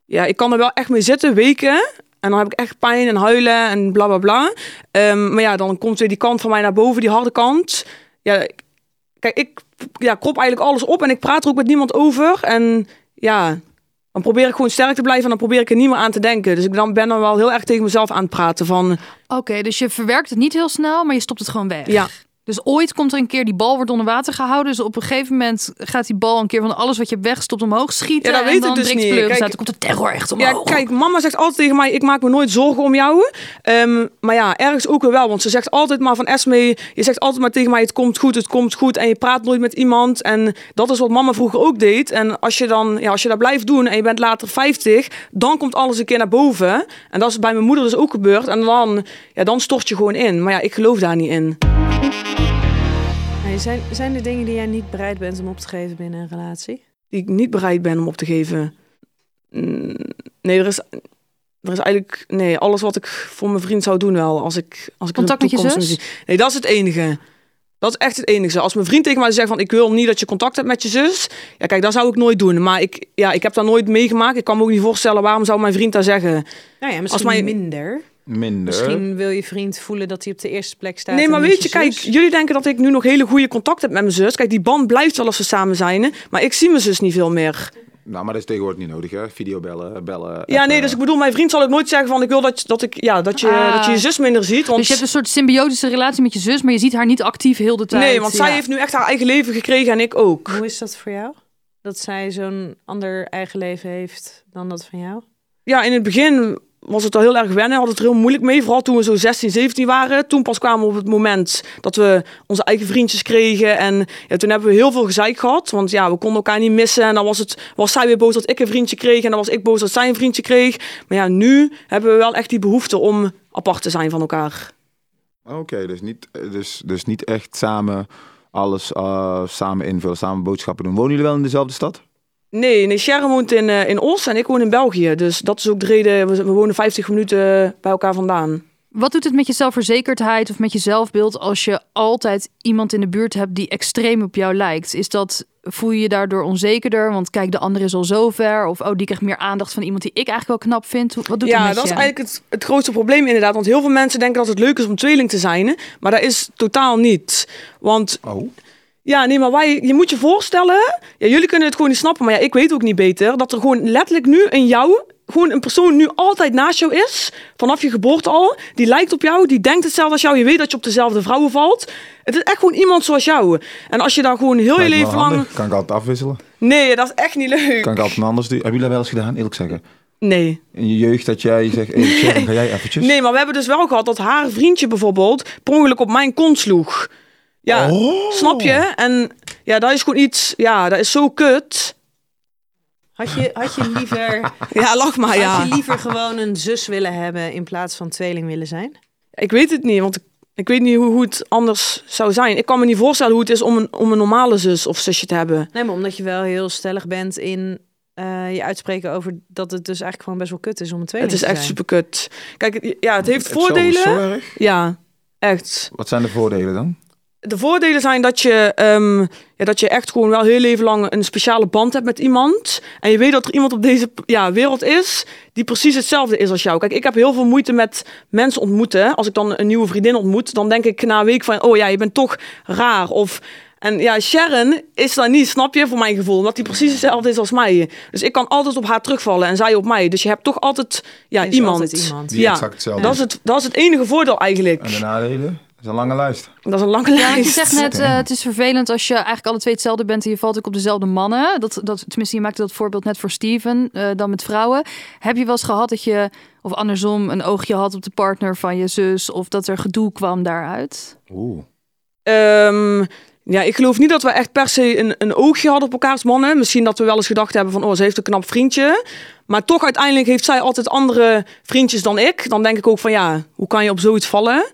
ja, ik kan er wel echt mee zitten, weken. En dan heb ik echt pijn en huilen en bla bla bla. Ehm, maar ja, dan komt weer die kant van mij naar boven, die harde kant. Ja, ik- kijk, ik ja, krop eigenlijk alles op en ik praat er ook met niemand over. En ja, dan probeer ik gewoon sterk te blijven en dan probeer ik er niet meer aan te denken. Dus ik dan ben dan wel heel erg tegen mezelf aan het praten van... Oké, dus je verwerkt het niet heel snel, maar je stopt het gewoon weg. Ja. Dus ooit komt er een keer die bal wordt onder water gehouden. Dus op een gegeven moment gaat die bal een keer van alles wat je hebt weggestopt omhoog schieten. Ja, dat en weet ik dan dus drinkt niet. pleuris Kijk- uit. Dan komt de terror echt Ja, omhoog. kijk, mama zegt altijd tegen mij: ik maak me nooit zorgen om jou. Ehm, maar ja, ergens ook weer wel. Want ze zegt altijd maar van Esme: je zegt altijd maar tegen mij: het komt goed, het komt goed. En je praat nooit met iemand. En dat is wat mama vroeger ook deed. En als je dan, ja, als je dat blijft doen en je bent later 50, dan komt alles een keer naar boven. En dat is bij mijn moeder dus ook gebeurd. En dan, ja, dan stort je gewoon in. Maar ja, ik geloof daar niet in. Hey, zijn, zijn er dingen die jij niet bereid bent om op te geven binnen een relatie? die ik niet bereid ben om op te geven. Mm, Nee, er is, er is eigenlijk nee, alles wat ik voor mijn vriend zou doen wel. Als ik, als ik in de Contact met je toekomst zus? zie. Nee, dat is het enige. Dat is echt het enige. Als mijn vriend tegen mij zegt van ik wil niet dat je contact hebt met je zus. Ja, kijk, dat zou ik nooit doen. Maar ik, ja, ik heb dat nooit meegemaakt. Ik kan me ook niet voorstellen waarom zou mijn vriend dat zeggen. Nou ja, misschien mij- minder. Minder. Misschien wil je vriend voelen dat hij op de eerste plek staat. Nee, en maar niet weet je, kijk, zus. jullie denken dat ik nu nog hele goede contact heb met mijn zus. Kijk, die band blijft wel als we samen zijn. hè. Maar ik zie mijn zus niet veel meer. Nou, maar dat is tegenwoordig niet nodig, hè? Videobellen, bellen. Ja, appen. nee, dus ik bedoel, mijn vriend zal ook nooit zeggen van ik wil dat, je- dat, ik, ja, dat, je, Ah. dat je je zus minder ziet. Want, Dus je hebt een soort symbiotische relatie met je zus, maar je ziet haar niet actief heel de tijd. nee, want zij Ja. heeft nu echt haar eigen leven gekregen en ik ook. Hoe is dat voor jou? Dat zij zo'n ander eigen leven heeft dan dat van jou? Ja, in het begin was het al heel erg wennen, had het er heel moeilijk mee. Vooral toen we zo 16, 17 waren. Toen pas kwamen we op het moment dat we onze eigen vriendjes kregen. En ja, toen hebben we heel veel gezeik gehad. Want ja, we konden elkaar niet missen. En dan was, het, was zij weer boos dat ik een vriendje kreeg. En dan was ik boos dat zij een vriendje kreeg. Maar ja, nu hebben we wel echt die behoefte om apart te zijn van elkaar. Oké, dus, niet, dus, dus niet echt samen alles eh, samen invullen, samen boodschappen doen. Wonen jullie wel in dezelfde stad? Nee, nee Sharon woont in, eh, in Os en ik woon in België. Dus dat is ook de reden. We, we wonen 50 minuten bij elkaar vandaan. Wat doet het met je zelfverzekerdheid of met je zelfbeeld als je altijd iemand in de buurt hebt die extreem op jou lijkt? Is dat, voel je je daardoor onzekerder? Want kijk, de ander is al zo ver. Of oh, die krijgt meer aandacht van iemand die ik eigenlijk wel knap vind. Hoe- Wat doet ja, het met dat je? is eigenlijk het, het grootste probleem inderdaad. Want heel veel mensen denken dat het leuk is om tweeling te zijn. hè, Maar dat is totaal niet. Want Oh. ja, nee, maar wij, je moet je voorstellen... Ja, jullie kunnen het gewoon niet snappen, maar ja, ik weet ook niet beter... dat er gewoon letterlijk nu in jou... gewoon een persoon nu altijd naast jou is... vanaf je geboorte al. Die lijkt op jou, die denkt hetzelfde als jou. Je weet dat je op dezelfde vrouwen valt. Het is echt gewoon iemand zoals jou. En als je daar gewoon heel je leven lang... Kan ik altijd afwisselen? Nee, dat is echt niet leuk. Kan ik altijd een anders doen? Hebben jullie dat wel eens gedaan, eerlijk zeggen? Nee. In je jeugd dat jij zegt, hey, Sharon, ga jij eventjes? Nee, maar we hebben dus wel gehad dat haar vriendje bijvoorbeeld per ongeluk op mijn kont sloeg. Ja, Oh. snap je? En ja, dat is gewoon iets, ja, dat is zo kut. Had je, had je, liever, Ja, lach maar, ja. had je liever gewoon een zus willen hebben in plaats van tweeling willen zijn? Ik weet het niet, want ik, ik weet niet hoe, hoe het anders zou zijn. Ik kan me niet voorstellen hoe het is om een, om een normale zus of zusje te hebben. Nee, maar omdat je wel heel stellig bent in eh, je uitspreken over dat het dus eigenlijk gewoon best wel kut is om een tweeling Het is te zijn. echt super kut. Kijk, het- ja, het heeft Het zal wel voordelen. zo erg. Ja, echt. Wat zijn de voordelen dan? De voordelen zijn dat je, ehm, ja, dat je echt gewoon wel heel leven lang een speciale band hebt met iemand. En je weet dat er iemand op deze ja, wereld is die precies hetzelfde is als jou. Kijk, ik heb heel veel moeite met mensen ontmoeten. Als ik dan een nieuwe vriendin ontmoet, dan denk ik na een week van... oh ja, je bent toch raar. Of, en ja, Sharon is dat niet, snap je, voor mijn gevoel. Omdat die precies hetzelfde is als mij. Dus ik kan altijd op haar terugvallen en zij op mij. Dus je hebt toch altijd ja, Er is iemand. altijd iemand. Die ja, exact hetzelfde dat is. is het, dat is het enige voordeel eigenlijk. En de nadelen? Dat is een lange lijst. Dat is een lange lijst. Ja, want je zegt net, eh, het is vervelend als je eigenlijk alle twee hetzelfde bent en je valt ook op dezelfde mannen. Dat, dat, tenminste, je maakte dat voorbeeld net voor Steven, eh, dan met vrouwen. Heb je wel eens gehad dat je, of andersom, een oogje had op de partner van je zus? Of dat er gedoe kwam daaruit? Oeh. Ehm, ja, ik geloof niet dat we echt per se een, een oogje hadden op elkaars mannen. Misschien dat we wel eens gedacht hebben van, oh, ze heeft een knap vriendje. Maar toch uiteindelijk heeft zij altijd andere vriendjes dan ik. Dan denk ik ook van, ja, hoe kan je op zoiets vallen?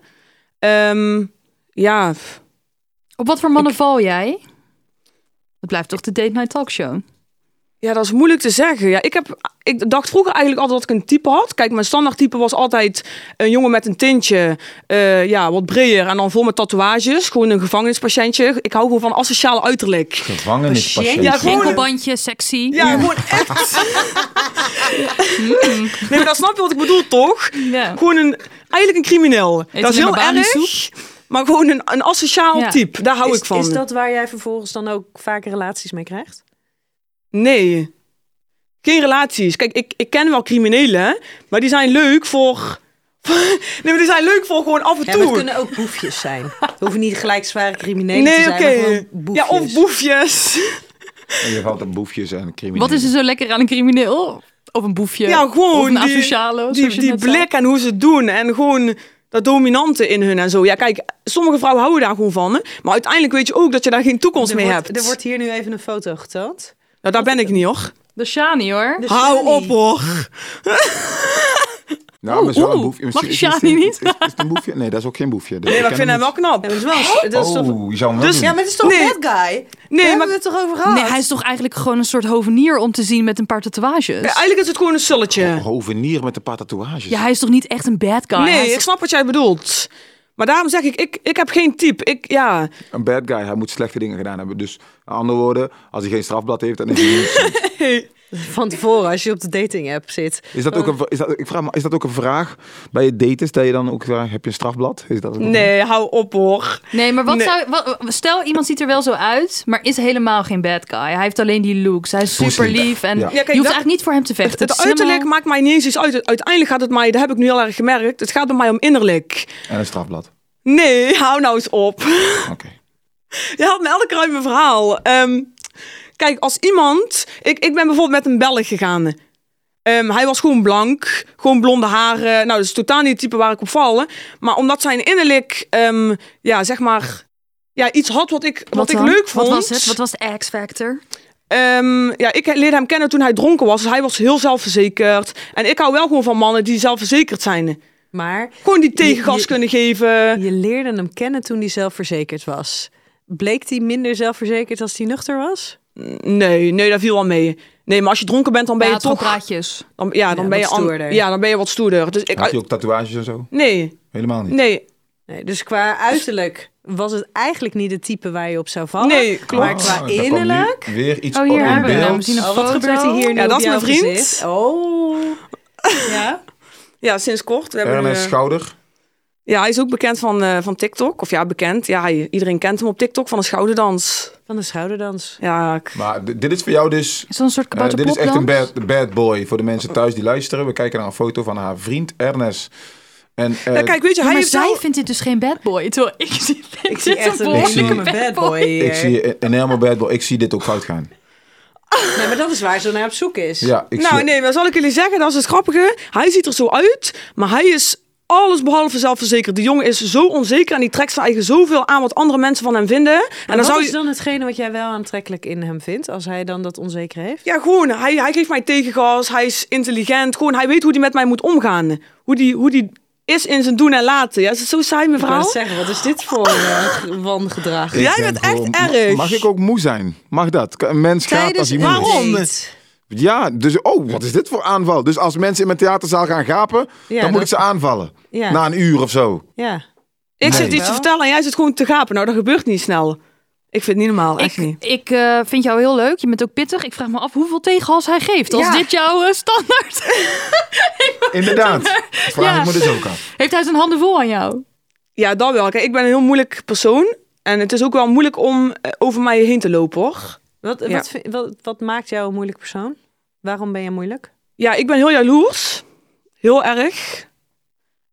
Ehm, ja, f- Op wat voor mannen val jij? Dat blijft toch de date night talkshow? ja, dat is moeilijk te zeggen. Ja, ik, heb, ik dacht vroeger eigenlijk altijd dat ik een type had. Kijk, mijn standaard type was altijd een jongen met een tintje. eh, ja, wat breder en dan vol met tatoeages. Gewoon een gevangenispatiëntje. Ik hou gewoon van asociaal uiterlijk. Gevangenispatiënt. Ja, gewoon- Enkelbandje, sexy. Ja, Mm. gewoon echt. nee, maar dat snap je wat ik bedoel, toch? Ja. Gewoon een, eigenlijk een crimineel. dat is alleen heel maar erg, maar gewoon een, een asociaal Ja. type. Daar hou is, ik van. Is dat waar jij vervolgens dan ook vaak relaties mee krijgt? Nee. Geen relaties. Kijk, ik, ik ken wel criminelen, maar die zijn leuk voor, Nee, maar die zijn leuk voor gewoon af en Ja, maar toe. het kunnen ook boefjes zijn. Het hoeven niet gelijk zware criminelen te nee, zijn, oké. maar gewoon boefjes. Ja, of boefjes. En je valt op boefjes en criminelen. Wat is er zo lekker aan een crimineel? Of een boefje? Ja, gewoon Of een die- asociale? zoals Die, je die net zei. blik en hoe ze het doen. En gewoon dat dominante in hun en zo. Ja, kijk, sommige vrouwen houden daar gewoon van. hè. Maar uiteindelijk weet je ook dat je daar geen toekomst er mee wordt, hebt. Er wordt hier nu even een foto getoond. Nou, daar ben ik niet hoor. De Shani hoor. De Hou Shani. op hoor. Nou, maar Oh, is wel een Oeh, boefje. mag Misschien- Shani is- is- is- niet? Is, is het een boefje? Nee, dat is ook geen boefje. Nee, maar ik vind hem wel knap. Ja, maar het is wel- het is toch- Oh, je zou hem wel Dus- doen. Ja, maar het is toch Nee. een bad guy? Daar Nee, hebben maar we het toch over gehad? Nee, hij is toch eigenlijk gewoon een soort hovenier om te zien met een paar tatoeages? Ja, eigenlijk is het gewoon een sulletje. Hovenier met een paar tatoeages. Ja, hij is toch niet echt een bad guy? Hij Nee, is- ik snap wat jij bedoelt. Maar daarom zeg ik, ik, ik heb geen type. Ik, ja. Een bad guy, hij moet slechte dingen gedaan hebben. Dus, met andere woorden, als hij geen strafblad heeft, dan is hij niet... Van tevoren, als je op de dating app zit. Is dat ook een, is dat, ik vraag me, is dat ook een vraag bij je daten? Stel je dan ook, vraag, heb je een strafblad? Is dat ook een- Nee, hou op hoor. Nee, maar wat Nee. zou, wat- stel iemand ziet er wel zo uit, maar is helemaal geen bad guy. Hij heeft alleen die looks. Hij is Poes super niet. lief en Ja. Ja, je kijk, hoeft dat- eigenlijk niet voor hem te vechten. Het, is uiterlijk helemaal- maakt mij niet eens iets uit. Uiteindelijk gaat het mij, dat heb ik nu al erg gemerkt, het gaat bij mij om innerlijk. En een strafblad. Nee, hou nou eens op. Oké. Je had me elke ruime verhaal. Ehm, kijk, als iemand... Ik, ik ben bijvoorbeeld met een Belg gegaan. Ehm, hij was gewoon blank, gewoon blonde haren. Nou, dat is totaal niet het type waar ik op val. hè. Maar omdat zijn innerlijk, ehm, ja, zeg maar... Ja, iets had wat ik, wat ik dan? leuk vond. Wat was het? Wat was de X-factor? Ehm, ja, ik leerde hem kennen toen hij dronken was. Dus hij was heel zelfverzekerd. En ik hou wel gewoon van mannen die zelfverzekerd zijn. Maar Gewoon die tegengas Je- je- kunnen geven. je leerde hem kennen toen hij zelfverzekerd was. Bleek hij minder zelfverzekerd als hij nuchter was? Nee, nee, daar viel wel mee. Nee, maar als je dronken bent, dan ben je toch... Oh, praatjes. Dan, ja, dan Ja, ben je wat an- stoerder. Ja, dan ben je wat stoerder. Dus ik, Had je ook tatoeages en zo? nee, Helemaal niet. nee, Nee, dus qua uiterlijk was het eigenlijk niet het type waar je op zou vallen. nee, Oh, klopt. Maar qua daar kwam nu innerlijk? Weer iets Oh, op hier in hebben we hem. beeld. We zien een Oh, wat foto. gebeurt er hier nu Ja, op dat is mijn jouw vriend. gezicht? Oh. Ja. Ja, sinds kort. We hebben, Ernest eh, Schouder. ja, hij is ook bekend van, eh, van TikTok. Of ja, bekend. Ja, hij- iedereen kent hem op TikTok van een schouderdans. Van de schouderdans. Ja, ik- Maar d- dit is voor jou dus... Is dat een soort eh, dit is echt een kabouterplopdans? bad, bad boy voor de mensen thuis die luisteren. We kijken naar een foto van haar vriend Ernest. En, eh, ja, kijk, weet Ja, je, hij maar heeft zij wel- vindt dit dus geen bad boy. Terwijl ik zie, vind Ik zie dit echt een een behoorlijke zie- enorme enorme bad boy ik zie een- een helemaal bad boy. Ik zie dit ook fout gaan. Nee, maar dat is waar ze naar op zoek is. Ja, ik Nou, zie... nee, maar zal ik jullie zeggen, dat is het grappige. Hij ziet er zo uit, maar hij is alles behalve zelfverzekerd. Die jongen is zo onzeker en die trekt zijn eigen zoveel aan wat andere mensen van hem vinden. en En dan wat zou is je... dan hetgene wat jij wel aantrekkelijk in hem vindt, als hij dan dat onzeker heeft? Ja, gewoon. Hij, hij geeft mij tegengas. Hij is intelligent. Gewoon, hij weet hoe hij met mij moet omgaan. Hoe die, hoe die is in zijn doen en laten. Ja, is het zo saai, Ik wou mevrouw? net zeggen, wat is dit voor eh, wangedrag? Ik Jij ben bent echt gewoon- erg. Mag ik ook moe zijn? Mag dat? Een mens gaat dus als hij moe is. waarom? Ja, dus oh, wat is dit voor aanval? Dus als mensen in mijn theaterzaal gaan gapen, Ja, dan moet dat- ik ze aanvallen. Ja. Na een uur of zo. Ja. Ik Nee. zit iets te Wel? vertellen en jij zit gewoon te gapen. Nou, dat gebeurt niet snel. Ik vind het niet normaal, echt Ik, niet. ik eh, vind jou heel leuk. Je bent ook pittig. Ik vraag me af hoeveel tegenhals hij geeft. Als Ja. dit jouw eh, standaard... Inderdaad. Vraag Ja. ik me dus ook af. Heeft hij zijn handen vol aan jou? Ja, dat wel. Kijk, ik ben een heel moeilijk persoon. En het is ook wel moeilijk om eh, over mij heen te lopen, hoor. Wat, Ja. Wat, vind- wat, wat maakt jou een moeilijk persoon? Waarom ben je moeilijk? Ja, ik ben heel jaloers. Heel erg.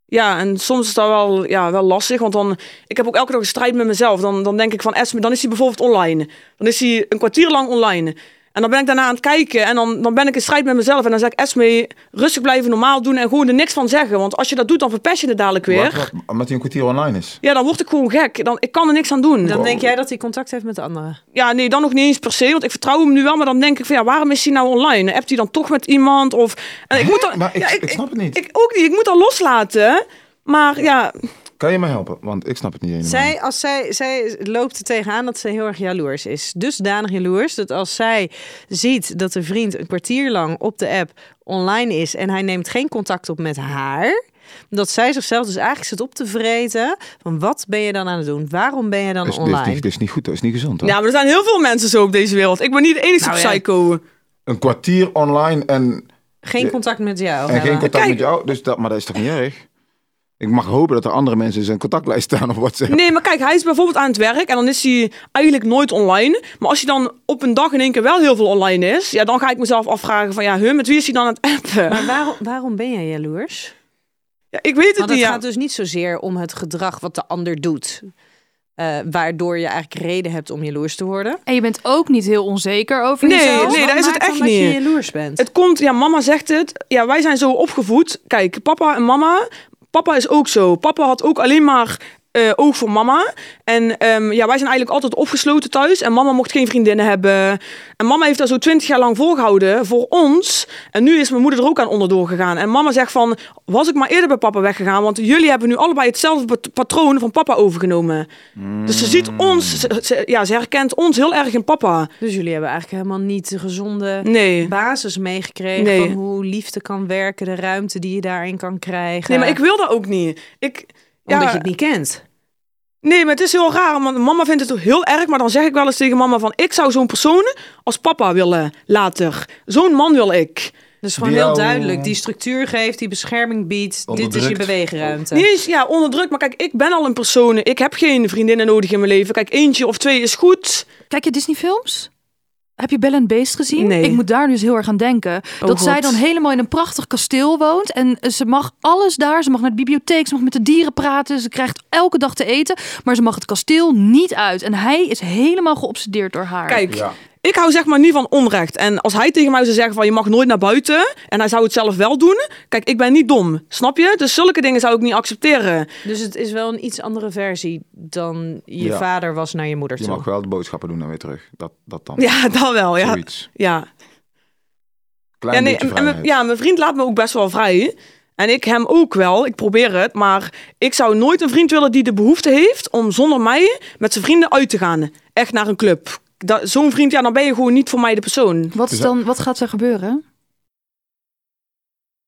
Ja, en soms is dat wel, ja, wel lastig. Want dan, ik heb ook elke dag een strijd met mezelf. Dan, dan denk ik van Esme, dan is hij bijvoorbeeld online. Dan is hij een kwartier lang online. En dan ben ik daarna aan het kijken. En dan, dan ben ik in strijd met mezelf. En dan zeg ik Esme, rustig blijven, normaal doen. En gewoon er niks van zeggen. Want als je dat doet, dan verpest je het dadelijk weer. Wat, wat, omdat hij een kwartier online is. Ja, dan word ik gewoon gek. Dan, ik kan er niks aan doen. Dan denk jij dat hij contact heeft met de anderen. Ja, nee, dan nog niet eens per se. Want ik vertrouw hem nu wel. Maar dan denk ik van ja, waarom is hij nou online? Appt hij dan toch met iemand? Of, en ik moet dan, Maar ik, ja, ik snap het niet. Ik ook niet. Ik moet dat loslaten. Maar ja, Kan je me helpen? Want ik snap het niet helemaal. Zij, als zij, zij loopt er tegenaan dat ze heel erg jaloers is. Dusdanig jaloers dat als zij ziet dat de vriend een kwartier lang op de app online is en hij neemt geen contact op met haar, dat zij zichzelf dus eigenlijk zit op te vreten van wat ben je dan aan het doen? Waarom ben je dan Dus- dus online? dit, is niet goed, dat is niet gezond. Hoor. ja, maar er zijn heel veel mensen zo op deze wereld. Ik ben niet de enige Nou ja. psycho. Een kwartier online en, Geen contact met jou. en geen hebben. contact met jou. Dus dat, maar dat is toch niet erg? Ik mag hopen dat er andere mensen in zijn contactlijst staan of WhatsApp. Nee, maar kijk, hij is bijvoorbeeld aan het werk en dan is hij eigenlijk nooit online. Maar als hij dan op een dag in één keer wel heel veel online is, ja, dan ga ik mezelf afvragen van ja, hun, met wie is hij dan aan het appen? Maar waarom, waarom ben jij jaloers? Ja, ik weet het Want niet. het ja. gaat dus niet zozeer om het gedrag wat de ander doet. eh, waardoor je eigenlijk reden hebt om jaloers te worden. En je bent ook niet heel onzeker over Nee, jezelf. nee. Wat daar is het maakt dan echt dat niet. je jaloers bent. Het komt, ja, mama zegt het. Ja, wij zijn zo opgevoed. Kijk, papa en mama. Papa is ook zo. Papa had ook alleen maar eh, oog voor mama. En ehm, ja, wij zijn eigenlijk altijd opgesloten thuis. En mama mocht geen vriendinnen hebben. En mama heeft daar zo twintig jaar lang volgehouden voor ons. En nu is mijn moeder er ook aan onderdoor gegaan. En mama zegt van, was ik maar eerder bij papa weggegaan. Want jullie hebben nu allebei hetzelfde pat- patroon van papa overgenomen. Dus ze ziet ons, ze- ze- ja, ze herkent ons heel erg in papa. Dus jullie hebben eigenlijk helemaal niet de gezonde Nee. basis meegekregen Nee. van hoe liefde kan werken, de ruimte die je daarin kan krijgen. Nee, maar ik wil dat ook niet. Ik, ja, Eh, Omdat je het niet kent. Nee, maar het is heel raar. Want mama vindt het heel erg. Maar dan zeg ik wel eens tegen mama van... Ik zou zo'n persoon als papa willen later. Zo'n man wil ik. Dus gewoon Die heel jou- duidelijk, die structuur geeft, die bescherming biedt. Dit is je Onderdrukt. beweegruimte. Niet eens ja, onder druk. Maar kijk, ik ben al een persoon. Ik heb geen vriendinnen nodig in mijn leven. Kijk, eentje of twee is goed. Kijk je Disney-films? Heb je Bell and Beast gezien? Nee. Ik moet daar dus heel erg aan denken. dat God. zij dan helemaal in een prachtig kasteel woont. En eh, ze mag alles daar. Ze mag naar de bibliotheek. Ze mag met de dieren praten. Ze krijgt elke dag te eten. Maar ze mag het kasteel niet uit. En hij is helemaal geobsedeerd door haar. Kijk, Ja. ik hou zeg maar niet van onrecht. En als hij tegen mij zou zeggen van... Je mag nooit naar buiten. En hij zou het zelf wel doen. Kijk, ik ben niet dom. Snap je? Dus zulke dingen zou ik niet accepteren. Dus het is wel een iets andere versie dan je Ja. vader was naar je moeder Je toe. mag wel de boodschappen doen en weer terug. Dat, dat dan. Ja, dan wel. Ja, Zoiets. ja. Klein ja, nee, beetje en- en mijn- vrijheid. ja, mijn vriend laat me ook best wel vrij. En ik hem ook wel. Ik probeer het. Maar ik zou nooit een vriend willen die de behoefte heeft om zonder mij met zijn vrienden uit te gaan. Echt naar een club. Dat- Zo'n vriend, ja, dan ben je gewoon niet voor mij de persoon. Wat, is Dus dat- dan, wat gaat er gebeuren?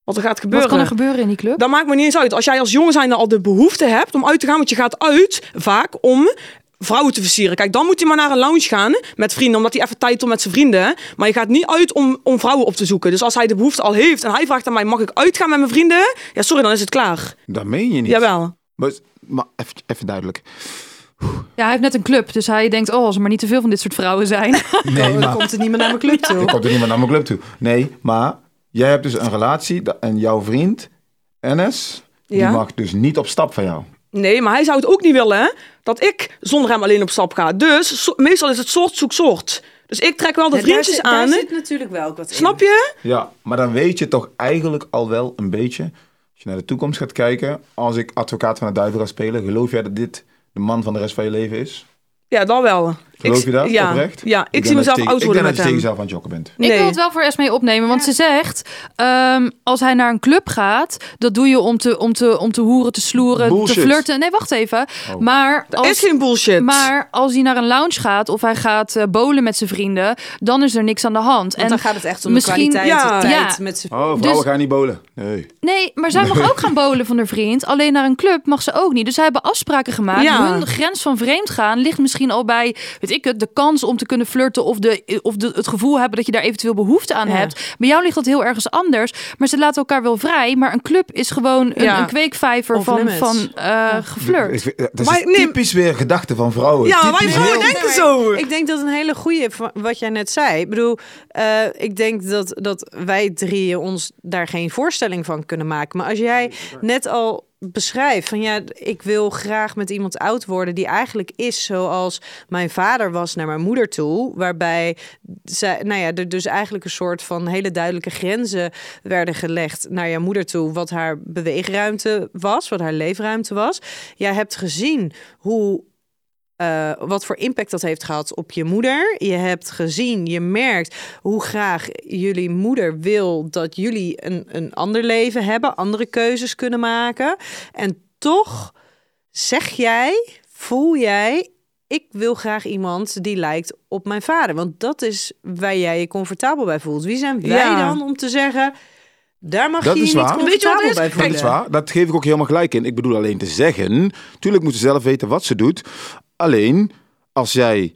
Wat er gaat Wat gebeuren. kan er gebeuren in die club? Dat maakt me niet eens uit. Als jij als jongen zijnde al de behoefte hebt om uit te gaan, want je gaat uit vaak om vrouwen te versieren. Kijk, dan moet hij maar naar een lounge gaan met vrienden, omdat hij even tijd heeft met zijn vrienden. Maar je gaat niet uit om, om vrouwen op te zoeken. Dus als hij de behoefte al heeft en hij vraagt aan mij, mag ik uitgaan met mijn vrienden? Ja, sorry, dan is het klaar. Dat meen je niet. Jawel. Maar, maar even, even duidelijk. Ja, hij heeft net een club. Dus hij denkt, oh, als er maar niet te veel van dit soort vrouwen zijn. Nee, maar... Komt het niet meer naar mijn club toe? Ik kom er niet meer naar mijn club toe. Nee, maar jij hebt dus een relatie da- en jouw vriend, NS, Ja. die mag dus niet op stap van jou. Nee, maar hij zou het ook niet willen hè, dat ik zonder hem alleen op stap ga. Dus so- meestal is het soort zoek soort. Dus ik trek wel de vriendjes aan. Daar zit natuurlijk wel ook wat in. Snap je? Ja, maar dan weet je toch eigenlijk al wel een beetje, als je naar de toekomst gaat kijken, als ik advocaat van de duivel ga spelen, geloof jij dat dit de man van de rest van je leven is? Ja, dan wel. Geloof Ik- je dat Ja, oprecht? ja ik, denk zie dat je mezelf tegen- oud worden met Ik denk dat je tegen hem. Dus- jezelf aan het jokken bent. Ik wil Nee. het wel voor Esmee opnemen, want ze zegt... ehm, als hij naar een club gaat, dat doe je om te, om te, om te hoeren, te sloeren, Bullshit. te flirten. Nee, wacht even. Maar Dat Oh. is als, geen bullshit. maar als hij naar een lounge gaat of hij gaat eh, bowlen met zijn vrienden... dan is er niks aan de hand. Want dan gaat het echt om de misschien- kwaliteit, Ja. de tijd Ja. met z'n Oh, vrouwen Dus- gaan niet bolen. Nee. Nee, maar zij mag ook gaan bowlen van haar vriend. Alleen naar een club mag ze ook niet. Dus zij hebben afspraken gemaakt. Ja. Hun grens van vreemd gaan ligt misschien al bij, weet ik het, de kans om te kunnen flirten of, de, of de, het gevoel hebben dat je daar eventueel behoefte aan Ja. hebt. Bij jou ligt dat heel ergens anders. Maar ze laten elkaar wel vrij. Maar een club is gewoon een, Ja. een kweekvijver Off van, limits. van eh, geflirt. Ik vind- Dat is Maar een nee. typisch weer gedachte van vrouwen. Ja, Typisch wij vrouwen heel- denken zo. Ik denk dat een hele goede wat jij net zei. Ik bedoel, eh, ik denk dat, dat wij drieën ons daar geen voorstelling van kunnen maken. Maar als jij net al beschrijft van ja, ik wil graag met iemand oud worden die eigenlijk is zoals mijn vader was naar mijn moeder toe, waarbij zij, nou ja, er dus eigenlijk een soort van hele duidelijke grenzen werden gelegd naar jouw moeder toe, wat haar beweegruimte was, wat haar leefruimte was. Jij hebt gezien hoe eh, wat voor impact dat heeft gehad op je moeder. Je hebt gezien, je merkt hoe graag jullie moeder wil dat jullie een, een ander leven hebben, andere keuzes kunnen maken. En toch zeg jij, voel jij, ik wil graag iemand die lijkt op mijn vader. Want dat is waar jij je comfortabel bij voelt. Wie zijn wij Ja. dan om te zeggen, daar mag Dat je je is niet waar. Weet je comfortabel wat het is? bij Kijk, voelen. Dat is waar. Dat geef ik ook helemaal gelijk in. Ik bedoel alleen te zeggen. Tuurlijk moet ze zelf weten wat ze doet. Alleen als jij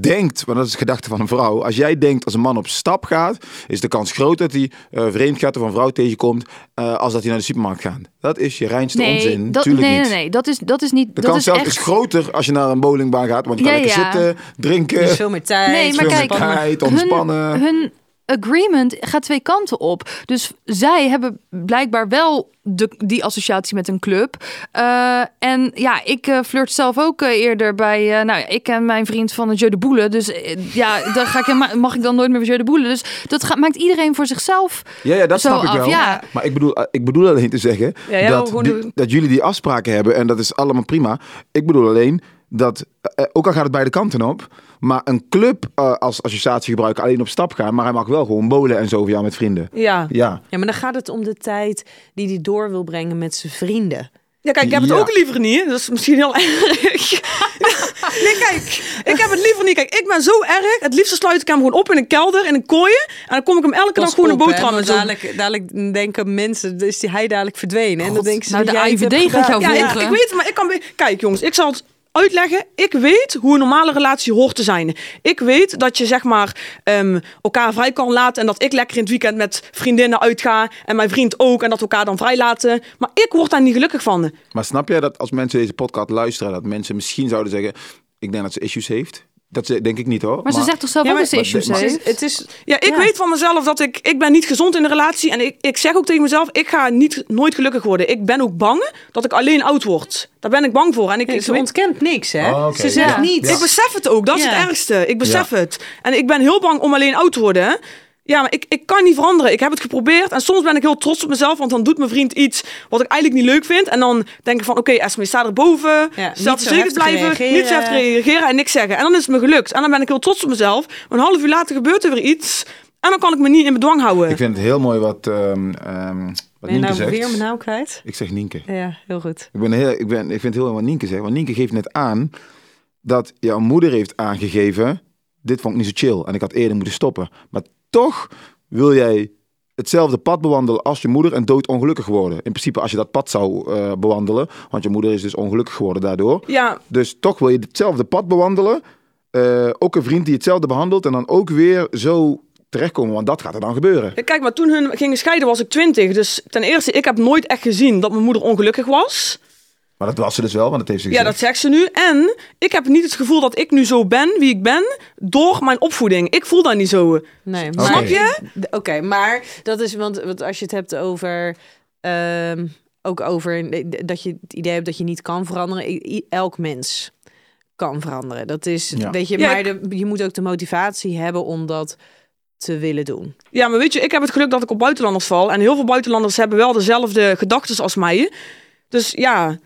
denkt, want dat is de gedachte van een vrouw. Als jij denkt als een man op stap gaat, is de kans groot dat hij eh, vreemd gaat of een vrouw tegenkomt. eh, als dat hij naar de supermarkt gaat. Dat is je reinste onzin. dat, nee, Tuurlijk nee, niet. nee, dat is, dat is niet. De dat kans is zelf echt... is groter als je naar een bowlingbaan gaat. Want je Ja, kan lekker ja. zitten, Er is drinken. veel meer tijd. Nee, maar veel kijk, meer tijd, hun, ontspannen. hun agreement gaat twee kanten op. Dus zij hebben blijkbaar wel de, die associatie met een club. Eh, en ja, ik eh, flirt zelf ook eh, eerder bij... eh, nou ja, ik ken mijn vriend van de Jeu de Boele. Dus eh, ja, dan ga ik helemaal, mag ik dan nooit meer bij Jeu de Boele. Dus dat gaat, maakt iedereen voor zichzelf Ja, ja dat zo snap ik af. wel. Ja. Maar ik bedoel, eh, ik bedoel alleen te zeggen Ja, jij wil dat, gewoon die- doen. dat jullie die afspraken hebben en dat is allemaal prima. Ik bedoel alleen dat, eh, ook al gaat het beide kanten op, maar een club eh, als associatie gebruiken alleen op stap gaan, maar hij mag wel gewoon bolen en zo voor jou met vrienden. Ja. Ja, Ja, maar dan gaat het om de tijd die hij door wil brengen met zijn vrienden. Ja, kijk, ik heb het Ja. ook liever niet. Dat is misschien heel erg. nee, kijk, ik heb het liever niet. Kijk, ik ben zo erg. Het liefste sluit ik hem gewoon op in een kelder, in een kooien. En dan kom ik hem elke dag gewoon een boterham en zo. dadelijk, dadelijk denken mensen, dus die hij dadelijk verdwenen. en dan denken ze, Nou, dat de jij het AIVD hebt gaat gedaan. jou Ja, ik, volgen. ik weet het, maar ik kan... be- Kijk, jongens, ik zal het uitleggen. Ik weet hoe een normale relatie hoort te zijn. Ik weet dat je, zeg maar, ehm, elkaar vrij kan laten... en dat ik lekker in het weekend met vriendinnen uitga... en mijn vriend ook, en dat we elkaar dan vrij laten. Maar ik word daar niet gelukkig van. maar snap jij dat als mensen deze podcast luisteren, dat mensen misschien zouden zeggen, ik denk dat ze issues heeft? Dat ze, denk ik niet hoor. Maar ze zegt toch zelf Ja, ook maar- dat ze maar- issues maar- Het heeft? is, het is, Ja, ik Ja. weet van mezelf dat ik... Ik ben niet gezond in de relatie. En ik, ik zeg ook tegen mezelf, ik ga niet, nooit gelukkig worden. Ik ben ook bang dat ik alleen oud word. Daar ben ik bang voor. En ik, ik, ze weet- ontkent niks, hè? Oh, oké, Ze zegt ja. niet. ik besef het ook. Dat is Ja. het ergste. Ik besef het. En ik ben heel bang om alleen oud te worden. hè. Ja, maar ik, ik kan niet veranderen. Ik heb het geprobeerd. En soms ben ik heel trots op mezelf. Want dan doet mijn vriend iets wat ik eigenlijk niet leuk vind. En dan denk ik van, oké, Esme, sta er boven. Ja, niet zo zelfverzekerd heftig blijven. reageren. Niet zo heftig reageren en niks zeggen. En dan is het me gelukt. En dan ben ik heel trots op mezelf. Maar een half uur later gebeurt er weer iets. En dan kan ik me niet in bedwang houden. Ik vind het heel mooi wat, ehm ehm wat Ben je Nienke nou zegt. weer mijn naam kwijt? Ik zeg Nienke. Ja, heel goed. Ik, ben heel, ik, ben, ik vind het heel erg wat Nienke zegt. Want Nienke geeft net aan dat jouw moeder heeft aangegeven... dit vond ik niet zo chill en ik had eerder moeten stoppen. Maar toch wil jij hetzelfde pad bewandelen als je moeder... en doodongelukkig worden. In principe als je dat pad zou eh, bewandelen... want je moeder is dus ongelukkig geworden daardoor. Ja, Dus toch wil je hetzelfde pad bewandelen. eh, ook een vriend die hetzelfde behandelt... en dan ook weer zo terechtkomen, want dat gaat er dan gebeuren. Ja, Kijk, maar toen hun gingen scheiden was ik twintig. Dus ten eerste, ik heb nooit echt gezien dat mijn moeder ongelukkig was. Maar dat was ze dus wel, want dat heeft ze Ja, gezegd. dat zegt ze nu. En ik heb niet het gevoel dat ik nu zo ben wie ik ben door mijn opvoeding. Ik voel dat niet zo. Oh. Nee, maar... Snap je? Oké, maar dat is... Want, want als je het hebt over... ehm, ook over dat je het idee hebt dat je niet kan veranderen. I- i- Elk mens kan veranderen. Dat is... Ja. Weet je, Ja, maar de- je moet ook de motivatie hebben om dat te willen doen. Ja, maar weet je, ik heb het geluk dat ik op buitenlanders val. En heel veel buitenlanders hebben wel dezelfde gedachten als mij. Dus ja, Ik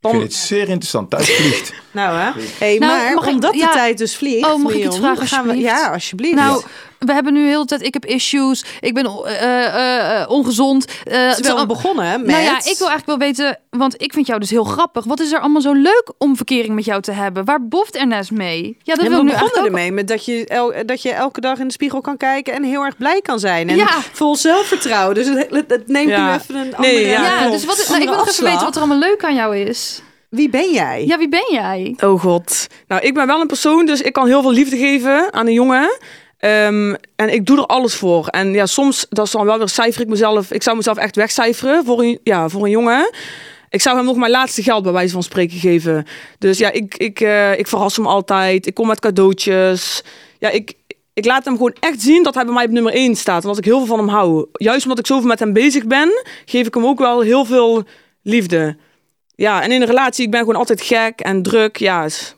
dan... vind het zeer interessant. Thuis vliegt. Nou, hè? Hey, Nou, maar mag ik- omdat ja. de tijd dus vliegt... Oh, mag ik iets Leon, vragen, gaan we, alsjeblieft? Ja, alsjeblieft. Nou, we hebben nu heel de hele tijd. Ik heb issues. Ik ben eh, eh, eh, ongezond. eh, het is Terwijl we al- begonnen hè, met... Nou ja, ik wil eigenlijk wel weten, want ik vind jou dus heel grappig. Wat is er allemaal zo leuk om verkering met jou te hebben? Waar boft Ernest mee? Ja, dat en wil we ik begonnen nu eigenlijk ook- ermee met dat je, el- dat je elke dag in de spiegel kan kijken en heel erg blij kan zijn. En Ja. vol zelfvertrouwen. Dus het, het- het neemt Ja. nu even een andere... Nee, ja, Ja, klopt. dus wat is, nou, ik Andere wil nog even afslag. weten wat er allemaal leuk aan jou is. Wie ben jij? Ja, wie ben jij? Oh god. Nou, ik ben wel een persoon, dus ik kan heel veel liefde geven aan een jongen. Ehm, en ik doe er alles voor. En ja, soms, dat is dan wel weer, cijfer ik mezelf. Ik zou mezelf echt wegcijferen voor een, ja, voor een jongen. Ik zou hem nog mijn laatste geld bij wijze van spreken geven. Dus ja, ik, ik, eh, ik verras hem altijd. Ik kom met cadeautjes. Ja, ik, ik laat hem gewoon echt zien dat hij bij mij op nummer 1 staat. Omdat ik heel veel van hem hou. Juist omdat ik zoveel met hem bezig ben, geef ik hem ook wel heel veel liefde. Ja, en in een relatie, ik ben gewoon altijd gek en druk. Ja, is-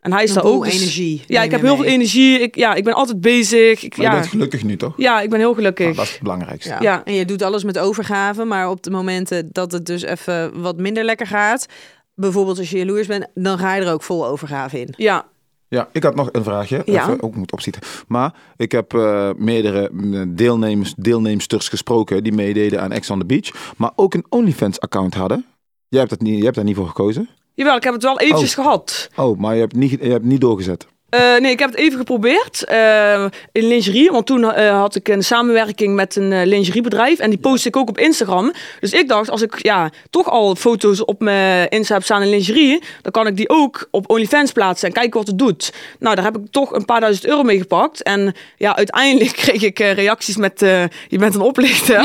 en hij is Een daar boel ook. dus- energie Ja, neem ik heb je heel mee. veel energie. Ik, ja, ik ben altijd bezig. Ik, Maar je ja. bent gelukkig nu, toch? ja, ik ben heel gelukkig. Nou, dat is het belangrijkste. Ja. Ja. En je doet alles met overgave, maar op de momenten dat het dus even wat minder lekker gaat, bijvoorbeeld als je jaloers bent, dan ga je er ook vol overgave in. Ja, Ja, ik had nog een vraagje. Ja. Even, ook moet opschieten. Maar ik heb eh, meerdere mm, deelnemers, deelnemsters gesproken die meededen aan Ex on the Beach. Maar ook een OnlyFans-account hadden. Jij hebt, dat niet, jij hebt daar niet voor gekozen. jawel, ik heb het wel eventjes gehad. Oh, maar je hebt niet, je hebt niet doorgezet. Eh, nee, ik heb het even geprobeerd eh, in lingerie. Want toen eh, had ik een samenwerking met een eh, lingeriebedrijf. En die post ik ook op Instagram. Dus ik dacht, als ik ja, toch al foto's op mijn Insta heb staan in lingerie... dan kan ik die ook op OnlyFans plaatsen en kijken wat het doet. Nou, daar heb ik toch een paar duizend euro mee gepakt. En ja, uiteindelijk kreeg ik eh, reacties met... eh, je bent een oplichter.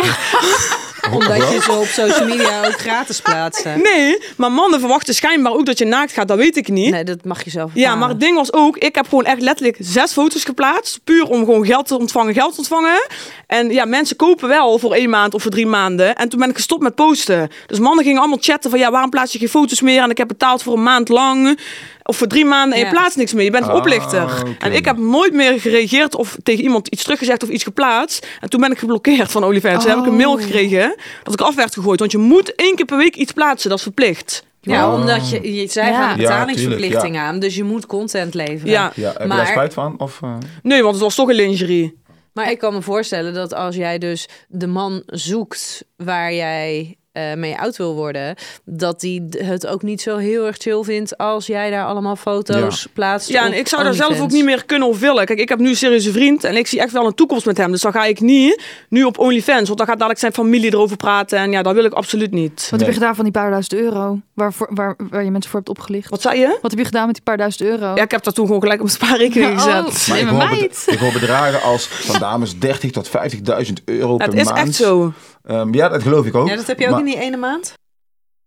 Omdat je ze op social media ook gratis plaatst. hè? Nee, maar mannen verwachten schijnbaar ook dat je naakt gaat. Dat weet ik niet. Nee, dat mag je zelf Ja, bepalen. maar het ding was ook, ik heb gewoon echt letterlijk zes foto's geplaatst. Puur om gewoon geld te ontvangen, geld te ontvangen. En ja, mensen kopen wel voor één maand of voor drie maanden. En toen ben ik gestopt met posten. Dus mannen gingen allemaal chatten van, ja, waarom plaats je geen foto's meer? En ik heb betaald voor een maand lang. Of voor drie maanden en je Ja. plaatst niks meer. Je bent een Ah, oplichter. oké. En ik heb nooit meer gereageerd of tegen iemand iets teruggezegd of iets geplaatst. En toen ben ik geblokkeerd van OnlyFans. Toen heb ik een mail Oh. gekregen dat ik af werd gegooid. Want je moet één keer per week iets plaatsen, dat is verplicht. Ja, omdat je, je zij Ja. gaan een Ja, betalingsverplichting tuurlijk, aan, dus je moet content leveren. Ja. Ja, heb je Maar- daar spijt van? Of, eh? Nee, want het was toch een lingerie. Maar ik kan me voorstellen dat als jij dus de man zoekt waar jij eh, mee oud wil worden, dat die d- het ook niet zo heel erg chill vindt als jij daar allemaal foto's plaatst. Ja, op en ik zou daar zelf ook OnlyFans. niet meer kunnen of willen. Kijk, ik heb nu een serieuze vriend en ik zie echt wel een toekomst met hem. Dus dan ga ik niet nu op OnlyFans, want dan gaat dadelijk zijn familie erover praten. En ja, dat wil ik absoluut niet. Wat Nee. heb je gedaan van die paar duizend euro? Waarvoor, waar, waar je mensen voor hebt opgelicht? Wat zei je? Wat heb je gedaan met die paar duizend euro? Ja, ik heb dat toen gewoon gelijk op mijn spaarrekening gezet. oh, Maar ik slimme hoor, bed- meid. ik hoor bedragen als van dames 30 tot 50.000 euro Dat per is maand. echt zo. Ehm, ja, dat geloof ik ook. Ja, dat heb je ook Maar- in die ene maand.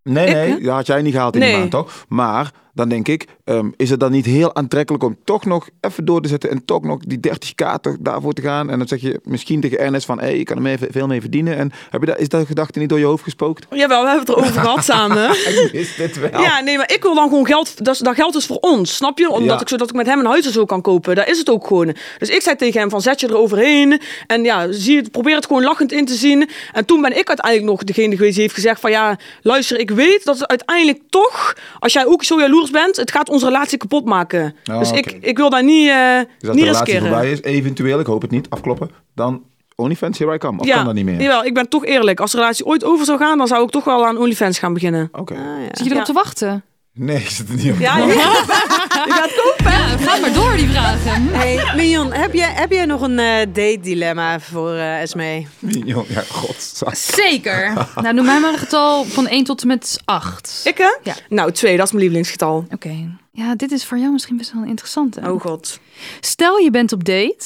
Nee, Ik, nee, dat had jij niet gehaald in Nee. die maand, toch? Maar dan denk ik, ehm, is het dan niet heel aantrekkelijk om toch nog even door te zetten en toch nog die 30k toch daarvoor te gaan? En dan zeg je misschien tegen Ernest van, hé, ik kan er meer- veel mee verdienen. En heb je dat, is dat gedachte niet door je hoofd gespookt? Jawel, we hebben het erover gehad samen. Is dit wel? Ja, nee, maar ik wil dan gewoon geld. Dat, is- dat geld is voor ons, snap je? Omdat Ja. ik, zodat ik met hem een huis en zo kan kopen. Daar is het ook gewoon. Dus ik zei tegen hem van zet je eroverheen. En ja, zie het, probeer het gewoon lachend in te zien. En toen ben ik uiteindelijk nog degene geweest die heeft gezegd van ja, luister, ik weet dat het uiteindelijk toch, als jij ook zo jaloers bent, het gaat onze relatie kapot maken. Ah, dus oké. ik, ik wil daar niet, eh Dus als niet de relatie riskeren. voorbij is, eventueel, ik hoop het niet, afkloppen, dan OnlyFans, here I come. Of kan dat niet meer? Jawel, ik ben toch eerlijk. Als de relatie ooit over zou gaan, dan zou ik toch wel aan OnlyFans gaan beginnen. Oké. Zit je erop Ah, Ja. te wachten? Nee, ik zit er niet op. Ja, Maar- Ja, ga maar door die vragen. Hey, Mion, heb jij, heb jij nog een date dilemma voor eh, Esme? Joh, Ja, godzak. Zeker. Nou, noem mij maar een getal van 1 tot en met 8. Ik hè? Ja. Nou, twee, dat is mijn lievelingsgetal. Oké. Ja, dit is voor jou misschien best wel een interessante. Oh god. Stel je bent op date,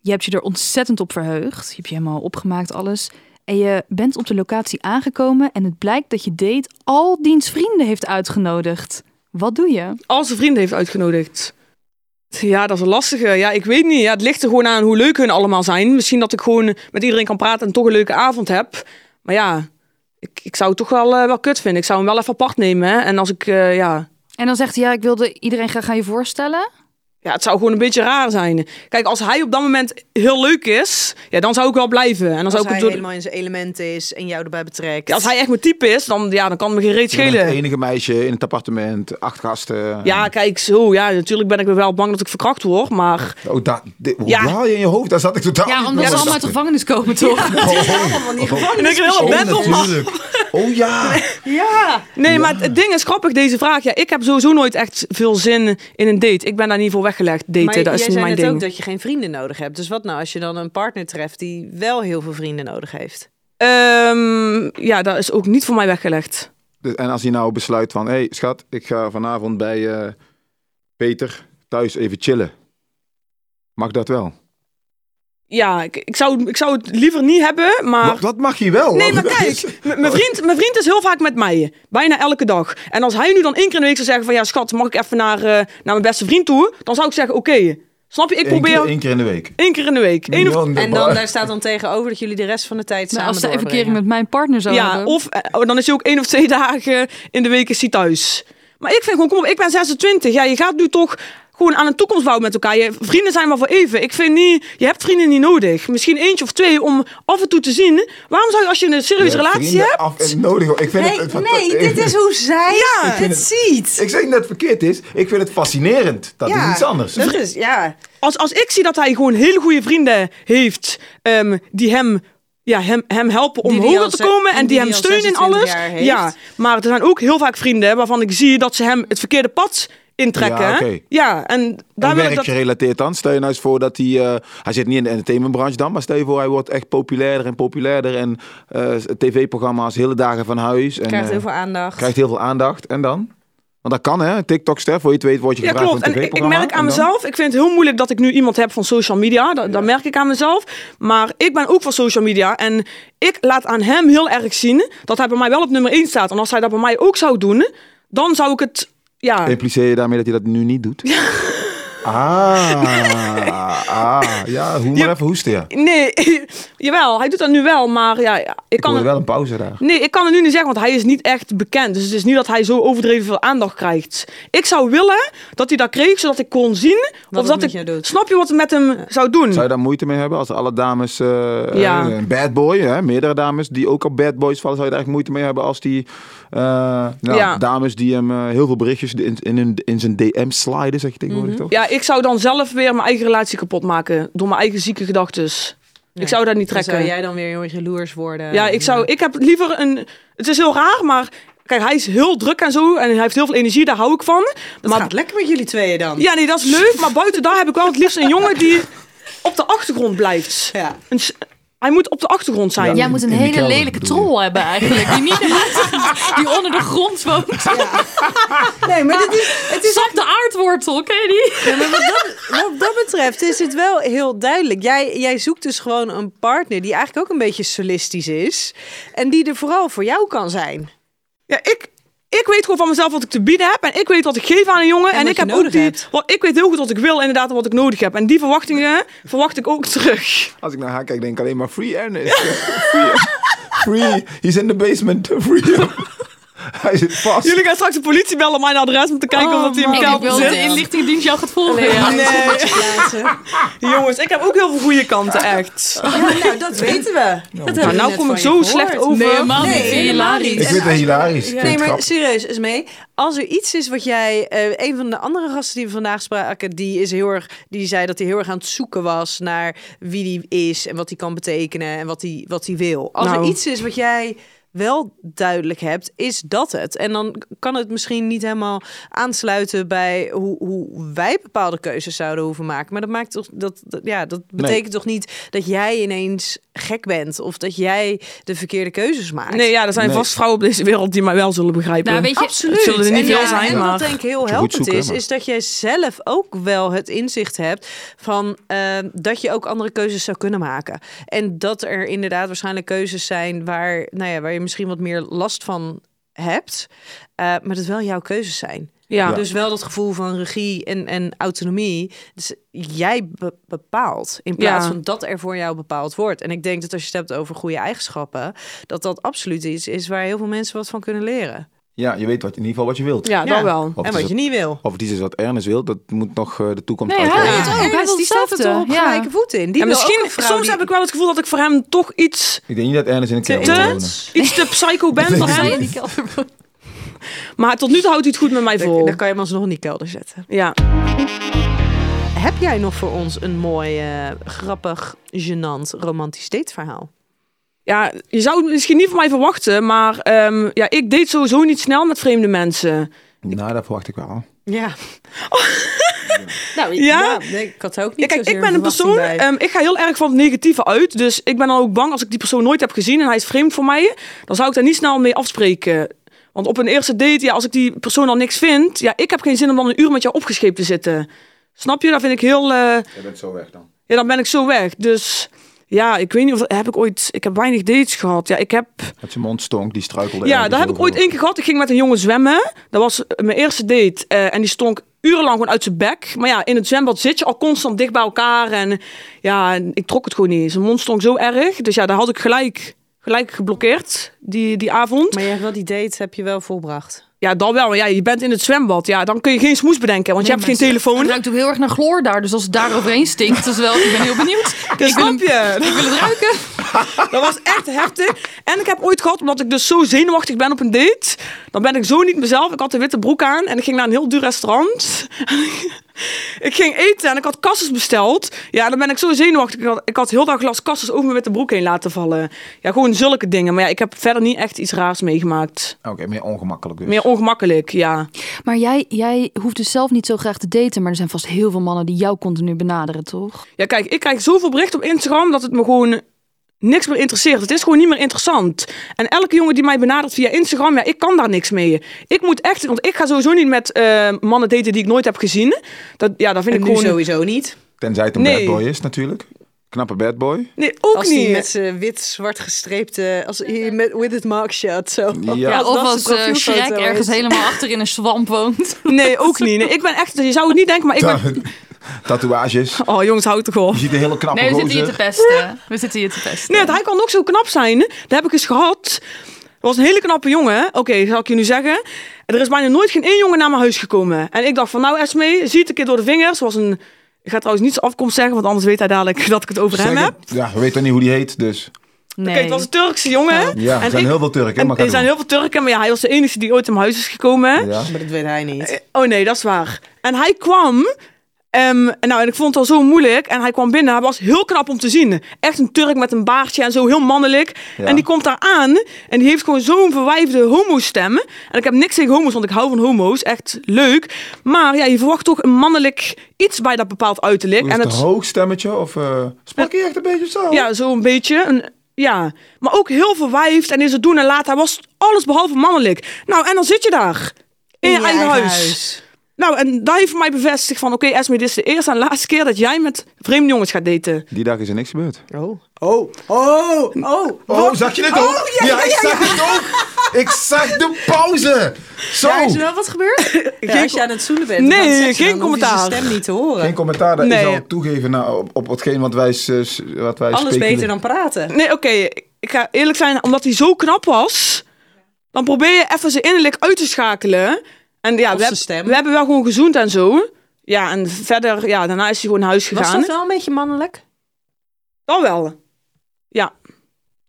je hebt je er ontzettend op verheugd, je hebt je helemaal opgemaakt alles en je bent op de locatie aangekomen en het blijkt dat je date al diens vrienden heeft uitgenodigd. Wat doe je? al zijn vrienden heeft uitgenodigd. Ja, dat is een lastige. Ja, ik weet niet. Ja, het ligt er gewoon aan hoe leuk hun allemaal zijn. Misschien dat ik gewoon met iedereen kan praten en toch een leuke avond heb. Maar ja, ik, ik zou het toch wel, eh, wel kut vinden. Ik zou hem wel even apart nemen. Hè? En als ik, eh, ja... En dan zegt hij, ja, ik wilde iedereen graag aan je voorstellen. Ja, het zou gewoon een beetje raar zijn. Kijk, als hij op dat moment heel leuk is, ja, dan zou ik wel blijven. En dan Als zou ik hij het doen- helemaal in zijn element is en jou erbij betrekt. Ja, als hij echt mijn type is, dan, ja, dan kan het me geen reet Je bent het schelen. enige meisje in het appartement, acht gasten. Ja, kijk, zo. Ja, natuurlijk ben ik wel bang dat ik verkracht word, maar... Oh, dat, dit, hoe Ja. haal je in je hoofd? Daar zat ik totaal Ja, niet omdat bij. ze allemaal uit de gevangenis komen, toch? En ik wil Oh, op bed op natuurlijk. Oh ja. Nee, maar het- het ding is grappig, deze vraag. Ja, ik heb sowieso nooit echt veel zin in een date. Ik ben daar niet voor weggelegd. maar Daten, dat is jij niet zei mijn net ding. ook dat je geen vrienden nodig hebt. Dus wat nou als je dan een partner treft die wel heel veel vrienden nodig heeft? Ehm, ja, dat is ook niet voor mij weggelegd. Dus- En als hij nou besluit van, hé hey, schat, ik ga vanavond bij eh, Peter thuis even chillen. Mag dat wel? Ja, ik, ik, zou, ik zou het liever niet hebben, maar... Wat dat mag je wel. Nee, maar want- kijk, m- mijn vriend, mijn vriend is heel vaak met mij. Bijna elke dag. En als hij nu dan één keer in de week zou zeggen van... Ja, schat, mag ik even naar, eh, naar mijn beste vriend toe? Dan zou ik zeggen, oké. Snap je? Ik Eén keer, probeer één keer in de week. één keer in de week. Eén of Miljard de En dan bar. daar staat dan tegenover dat jullie de rest van de tijd Nou, samen als zij een verkering doorbrengen. met mijn partner zou Ja, hebben. of eh, dan is hij ook één of twee dagen in de week is hij thuis. Maar ik vind gewoon, kom op, ik ben 26. Ja, je gaat nu toch gewoon aan een toekomst bouwen met elkaar. Je vrienden zijn maar voor even. Ik vind niet, je hebt vrienden niet nodig. Misschien eentje of twee om af en toe te zien. Waarom zou je als je een serieuze relatie Vrienden hebt? af en nodig. hoor. Ik vind het, het- Nee, nee, dit is hoe zij het ziet. Ik zeg niet dat het verkeerd is. Ik vind het fascinerend. Dat is iets anders. Dat is, ja. Als, als ik zie dat hij gewoon hele goede vrienden heeft ehm, die hem. Ja, hem, hem helpen om Die die hoger al te ze- komen die en die, die hem al steunen in 26 alles. jaar heeft. Ja, maar er zijn ook heel vaak vrienden waarvan ik zie dat ze hem het verkeerde pad intrekken. Ja, hè. oké. ja en daar wil ik werk dat gerelateerd dan? Stel je nou eens voor dat hij... eh, hij zit niet in de entertainmentbranche dan, maar stel je voor hij wordt echt populairder en populairder. En eh, tv-programma's, hele dagen van huis. En, Krijgt eh, heel veel aandacht. krijgt heel veel aandacht. En dan? Want dat kan, hè? TikTok, Stef, voor je het weet, word je Ja, gevraagd klopt. voor een En ik, ik tv-programma. merk aan En dan- mezelf, ik vind het heel moeilijk dat ik nu iemand heb van social media. Dat, dat merk ik aan mezelf. Maar ik ben ook van social media. En ik laat aan hem heel erg zien dat hij bij mij wel op nummer 1 staat. En als hij dat bij mij ook zou doen, dan zou ik het. Ja, Impliceer je daarmee dat je dat nu niet doet? Ah, ah, ja, hoe maar Ja. even hoesten, ja. nee, jawel, hij doet dat nu wel. Maar ja, ik, Ik kan hoorde het. wel een pauze daar. Nee, ik kan het nu niet zeggen, want hij is niet echt bekend. Dus het is niet dat hij zo overdreven veel aandacht krijgt. Ik zou willen dat hij dat kreeg, zodat ik kon zien. Wat het of dat met ik. jou doet. Snap je wat het met hem zou doen? Zou je daar moeite mee hebben als alle dames eh, Ja. eh, bad boy, hè? meerdere dames die ook op bad boys vallen, zou je daar echt moeite mee hebben als die eh, nou, Ja. dames die hem eh, heel veel berichtjes in, in, hun- in zijn DM sliden, zeg je tegenwoordig toch? Mhm. Ja, ik zou dan zelf weer mijn eigen relatie kapot maken. Door mijn eigen zieke gedachten. Ik zou dat niet Dan trekken. zou jij dan weer heel erg jaloers worden. Ja, ik zou. Ik heb liever een. Het is heel raar, maar. Kijk, hij is heel druk en zo. En hij heeft heel veel energie, daar hou ik van. Dat maar gaat lekker met jullie tweeën dan. ja, nee, dat is leuk. Maar buiten daar heb ik wel het liefst een jongen die op de achtergrond blijft. Ja. Een s- hij moet op de achtergrond zijn. Ja. Ja, in- Jij moet een in die hele kelder lelijke bedoel je? troll hebben eigenlijk. Die, niet die onder de grond woont. Nee, maar dit is, het is Sap de aardwortel, ken je die? Ja, maar wat, dat, wat dat betreft is het wel heel duidelijk. Jij, jij zoekt dus gewoon een partner die eigenlijk ook een beetje solistisch is. En die er vooral voor jou kan zijn. ik, ik weet gewoon van mezelf wat ik te bieden heb. En ik weet wat ik geef aan een jongen. En, wat ik je heb ook nodig die. hebt. Wat, ik weet heel goed wat ik wil, inderdaad, en wat ik nodig heb. En die verwachtingen verwacht ik ook terug. Als ik naar haar kijk, denk ik alleen maar free Ernest. free, free, he's in the basement, free. Hij zit vast. Jullie gaan straks de politie bellen op mijn adres om te kijken Oh, of dat hij in mijn Ik kelder wil dat de zit. inlichtingendienst jou gaat volgen. ja. Jongens, ik heb ook heel veel goede kanten, echt. nou, dat weten we. Nou, nou kom ik zo slecht over. Nee, helemaal niet. Nee, Vind je hilarisch? helemaal niet. Ik vind het hilarisch. Ik vind Nee, het maar grappig. serieus, Esmee. Als er iets is wat jij... eh, een van de andere gasten die we vandaag spraken... Die, is heel erg, die zei dat hij heel erg aan het zoeken was... naar wie hij is en wat hij kan betekenen... en wat hij, wat hij wil. Als Nou. er iets is wat jij wel duidelijk hebt, is dat het. En dan kan het misschien niet helemaal aansluiten... bij hoe, hoe wij bepaalde keuzes zouden hoeven maken. Maar dat, maakt toch, dat, dat- ja, dat betekent toch niet... dat jij ineens gek bent... of dat jij de verkeerde keuzes maakt. Nee, ja, er zijn Nee. vast vrouwen op deze wereld die mij wel zullen begrijpen. Nou, weet je, Absoluut. Het zullen er niet en veel ja, zijn, en maar- wat denk ik heel je goed helpend zoeken, is, maar- is dat jij zelf ook wel het inzicht hebt van eh, dat je ook andere keuzes zou kunnen maken. En dat er inderdaad waarschijnlijk keuzes zijn waar, nou ja, waar je misschien wat meer last van hebt, eh, maar dat wel jouw keuzes zijn. ja. Dus wel dat gevoel van regie en, en autonomie. Dus jij be- bepaalt in plaats Ja. van dat er voor jou bepaald wordt. En ik denk dat als je het hebt over goede eigenschappen, dat dat absoluut iets is waar heel veel mensen wat van kunnen leren. Ja, je weet wat, in ieder geval wat je wilt. ja, dat Ja. wel. Of en het wat is je niet wil. Of het iets is dus wat Ernest wil, dat moet nog eh, de toekomst Nee, uitleggen. hij- Ja. ook. Ernest, wil die staat er toch op hetzelfde. Ja. gelijke voet in. Die en wil misschien, ook een vrouw soms die- heb ik wel het gevoel dat ik voor hem toch iets Ik denk niet dat Ernest in een te, kerk wil wonen. iets te psycho ben voor hem. Maar tot nu toe houdt hij het goed met mij Dan, vol. dan kan je hem alsnog in die kelder zetten. Ja. Heb jij nog voor ons een mooi, eh, grappig, gênant, romantisch dateverhaal? Ja, je zou het misschien niet van mij verwachten, maar ehm, ja, ik date sowieso niet snel met vreemde mensen. Nou, dat verwacht ik wel. Ja. Nou, Ja? nee, ik had er ook Ja, niet kijk, zozeer ik ben een verwachting bij. persoon, ehm, ik ga heel erg van het negatieve uit. Dus ik ben dan ook bang als ik die persoon nooit heb gezien en hij is vreemd voor mij. Dan zou ik daar niet snel mee afspreken. Want op een eerste date, ja, als ik die persoon al niks vind, ja, ik heb geen zin om dan een uur met jou opgescheept te zitten. Snap je? Dat vind ik heel. eh, Jij bent zo weg dan. ja, dan ben ik zo weg. Dus ja, ik weet niet of heb ik ooit. Ik heb weinig dates gehad. Ja, ik heb. Dat zijn mond stonk, die struikelde. Ja, ergens daar heb ik over. ooit één keer gehad. Ik ging met een jongen zwemmen. Dat was eh, mijn eerste date. eh, en die stonk urenlang gewoon uit zijn bek. Maar ja, in het zwembad zit je al constant dicht bij elkaar. En ja, en ik trok het gewoon niet. Zijn mond stonk zo erg. Dus ja, daar had ik gelijk, gelijk geblokkeerd die, die avond. Maar je hebt wel die date heb je wel volbracht. Ja, dan wel. Maar ja, je bent in het zwembad. Ja, dan kun je geen smoes bedenken, want je hebt geen Het telefoon. ruikt ook heel erg naar chloor daar. Dus als het daar overheen stinkt, dat is wel... Ik ben heel benieuwd. Dat snap je. Ik wil het ruiken. Dat was echt heftig. En ik heb ooit gehad, omdat ik dus zo zenuwachtig ben op een date. Dan ben ik zo niet mezelf. Ik had een witte broek aan en ik ging naar een heel duur restaurant. ik ging eten en ik had kassas besteld. Ja, dan ben ik zo zenuwachtig. Ik had, ik had heel dat glas kassas over mijn witte broek heen laten vallen. Ja, gewoon zulke dingen. Maar ja, ik heb verder niet echt iets raars meegemaakt. Oké, meer ongemakkelijk dus. Meer ongemakkelijk, ja. Maar jij, jij hoeft dus zelf niet zo graag te daten, maar er zijn vast heel veel mannen die jou continu benaderen, toch? Ja, kijk, ik krijg zoveel berichten op Instagram dat het me gewoon niks meer interesseert. Het is gewoon niet meer interessant. En elke jongen die mij benadert via Instagram, ja, ik kan daar niks mee. Ik moet echt, want ik ga sowieso niet met eh, mannen daten die ik nooit heb gezien. Dat, ja, dat vind En ik nu gewoon... sowieso niet. Tenzij het een Nee. bad boy is natuurlijk. Knappe bad boy. Nee, ook Als niet. die met zijn wit-zwart gestreepte... Als, hier met, with his mug shut, zo. Ja. Ja, Als of dat als zijn eh, profielfoto Shrek is. ergens helemaal achter in een zwamp woont. Nee, ook niet. Nee, ik ben echt, je zou het niet denken, maar ik ben... Ta- Tatoeages. Oh jongens, houd toch op. Je ziet een hele knappe Nee, we zitten hier te gozer. pesten. We zitten hier te pesten. Nee, want hij kan ook zo knap zijn. Dat heb ik eens gehad. Dat was een hele knappe jongen. Oké, zal ik je nu zeggen. Er is bijna nooit geen één jongen naar mijn huis gekomen. En ik dacht van, nou Esme, zie het een keer door de vingers. Was een... Ik ga trouwens niet zijn afkomst zeggen, want anders weet hij dadelijk dat ik het over Zeg hem heb. het. Ja, we weten niet hoe die heet, dus. Nee. Kijk, het was een Turkse jongen. Ja, er zijn ik- heel veel Turken. en maar er ga zijn door. heel veel Turken, maar ja, hij was de enige die ooit in mijn huis is gekomen. Ja. Maar dat weet hij niet. Oh nee, dat is waar. En hij kwam. ehm, en nou, en ik vond het al zo moeilijk. En hij kwam binnen. Hij was heel knap om te zien. Echt een Turk met een baardje en zo heel mannelijk. Ja. En die komt daar aan. En die heeft gewoon zo'n verwijfde homo-stem. En ik heb niks tegen homo's, want ik hou van homo's. Echt leuk. Maar ja, je verwacht toch een mannelijk iets bij dat bepaald uiterlijk. Hoe Is en het het een hoog stemmetje of eh sprak je echt een beetje zo? Oh. ja, zo'n beetje. Een, ja. Maar ook heel verwijfd en in zijn doen en laten. Hij was alles behalve mannelijk. Nou, en dan zit je daar. In, je, eigen, huis. Nou, en daar heeft mij bevestigd van... Oké, Esme, dit is de eerste en laatste keer dat jij met vreemde jongens gaat daten. Die dag is er niks gebeurd. Oh. Oh, oh, oh. Oh, zag je dit ook? ja, ik zag het ook. Ik zag de pauze. Zo. Ja, is er wel wat gebeurd? Ja, als je aan het zoenen bent, Nee, dan seks, geen dan hoef je zijn commentaar. stem niet te horen. Geen commentaar, dat Nee. is al toegeven nou, op, op hetgeen wat wij, s- s- wat wij Alles speculeren. beter dan praten. Nee, oké, ik ga eerlijk zijn. Omdat hij zo knap was... Dan probeer je even zijn innerlijk uit te schakelen. En ja, Of we, zijn heb- stem. we hebben wel gewoon gezoend en zo. Ja, en verder... Ja, daarna is hij gewoon naar huis Was gegaan. dat wel een beetje mannelijk? Dan wel.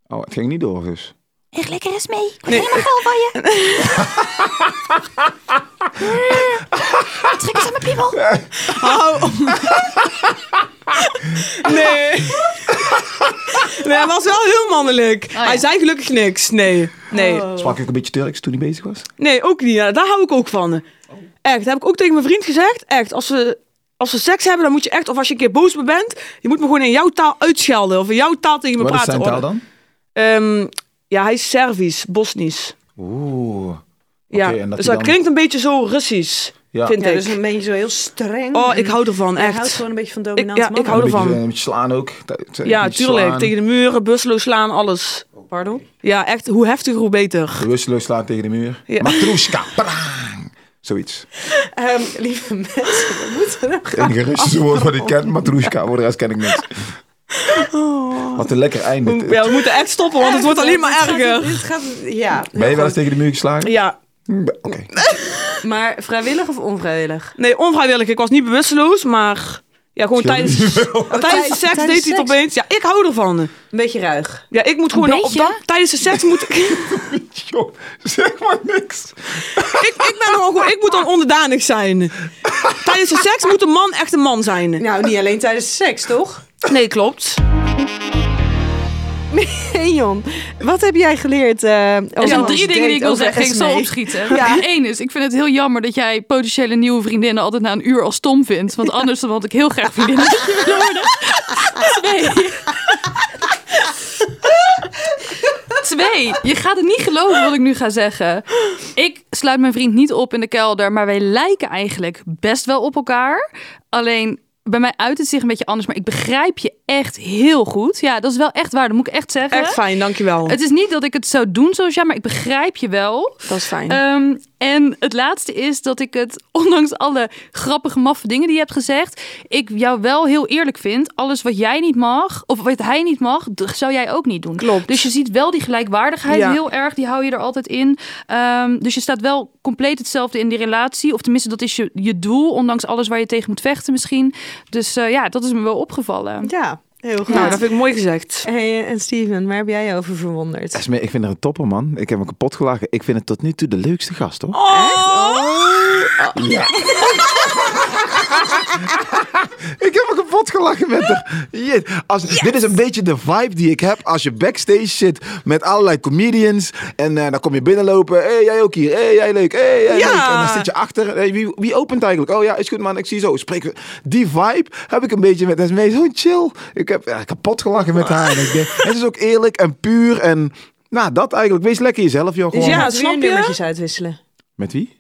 Oh, het ging niet door dus. Echt lekker Esme. Ik word helemaal gauw van je. Mm. Trek eens aan mijn piemel. Oh. Nee. nee, hij was wel heel mannelijk. Oh, Hij zei gelukkig niks. Nee, nee. Sprak ik een beetje Turks toen hij bezig was? Nee, ook niet. Ja, daar hou ik ook Oh. van. Echt, heb ik ook tegen mijn vriend gezegd. Echt, als we, als we seks hebben, dan moet je echt... Of als je een keer boos op me bent, je moet me gewoon in jouw taal uitschelden. Of in jouw taal tegen me Wat is praten. zijn taal hoor. dan? Ehm, ja, hij is Servisch, Bosnisch. Oeh. Ja, en dat dus hij dat dan- klinkt een beetje zo Russisch, Ja. vind Ja, ik. dus een beetje zo heel streng. Oh, en- ik hou ervan, Jij houdt echt. gewoon een beetje van Ik, dominante ja, ik mannen. hou een beetje, eh, ervan. een beetje slaan ook. Ja, tuurlijk. Tegen de muren, busloos slaan, alles. Pardon? Ja, echt, hoe heftiger, hoe beter. Bewusteloos slaan tegen de muur. Ja. Matroeska, prang. Zoiets. Ehm, lieve mensen, we moeten hem Het enige Russische woord wat ik ken, matroeska. Voor de rest ken ik niks. Oh. Wat een lekker einde. Ja, we moeten echt stoppen, want het wordt alleen maar erger. Dit gaat, ja. Ben je wel eens tegen de muur geslagen? Ja, Oké. Maar vrijwillig of onvrijwillig? Nee, onvrijwillig. Ik was niet bewusteloos, maar ja, gewoon Scheelt tijdens, tijdens de tijdens seks deed hij het seks? opeens. Ja, ik hou ervan. Een beetje ruig. Ja, ik moet gewoon op beetje? dat- tijdens de seks moet ik, Joh, zeg maar niks. ik, ik ben dan gewoon, ik moet dan onderdanig zijn. Tijdens de seks moet een man echt een man zijn. Nou, niet alleen tijdens seks, toch? Nee, klopt. Hey Jon, wat heb jij geleerd? eh, Oh, Er zijn drie dingen die ik wil zeggen. Ik E? E. zal opschieten. Ja. Eén is, ik vind het heel jammer dat jij potentiële nieuwe vriendinnen altijd na een uur al stom vindt. Want anders dan had ik heel graag vriendinnen met je willen worden. Twee. Twee, je gaat het niet geloven wat ik nu ga zeggen. Ik sluit mijn vriend niet op in de kelder, maar wij lijken eigenlijk best wel op elkaar. Alleen bij mij uit het zich een beetje anders, maar ik begrijp je echt heel goed. Ja, dat is wel echt waar, dat moet ik echt zeggen. Echt fijn, dankjewel. Het is niet dat ik het zou doen zoals jij, maar ik begrijp je wel. Dat is fijn. Ehm, en het laatste is dat ik het, ondanks alle grappige, maffe dingen die je hebt gezegd, ik jou wel heel eerlijk vind. Alles wat jij niet mag, of wat hij niet mag, d- zou jij ook niet doen. Klopt. Dus je ziet wel die gelijkwaardigheid Ja. heel erg, die hou je er altijd in. Ehm, dus je staat wel compleet hetzelfde in die relatie. Of tenminste, dat is je, je doel, ondanks alles waar je tegen moet vechten misschien. Dus eh, ja, dat is me wel opgevallen. Ja, heel goed. Nou, dat vind ik mooi gezegd. Hey, eh, en Steven, waar heb jij je over verwonderd? Esme, ik vind haar een topper, man. Ik heb hem kapot gelachen. Ik vind het tot nu toe de leukste gast, hoor. Oh, ik heb hem kapot gelachen met haar. Jeet. Als, Dit is een beetje de vibe die ik heb als je backstage zit met allerlei comedians. En eh, dan kom je binnenlopen. hey, jij ook hier. hey, jij leuk. hey, jij Ja. leuk. En dan zit je achter. Hey, wie, wie opent eigenlijk? Oh ja, is goed man, ik zie zo. Spreken. we. Die vibe heb ik een beetje met Esmee. Zo chill. Ik heb ja, kapot gelachen met haar. En ik denk, het is ook eerlijk en puur. En nou, dat eigenlijk. Wees lekker jezelf, joh. Dus gewoon. ja, Ja, snap snap je? je? nummertjes uitwisselen. Met wie?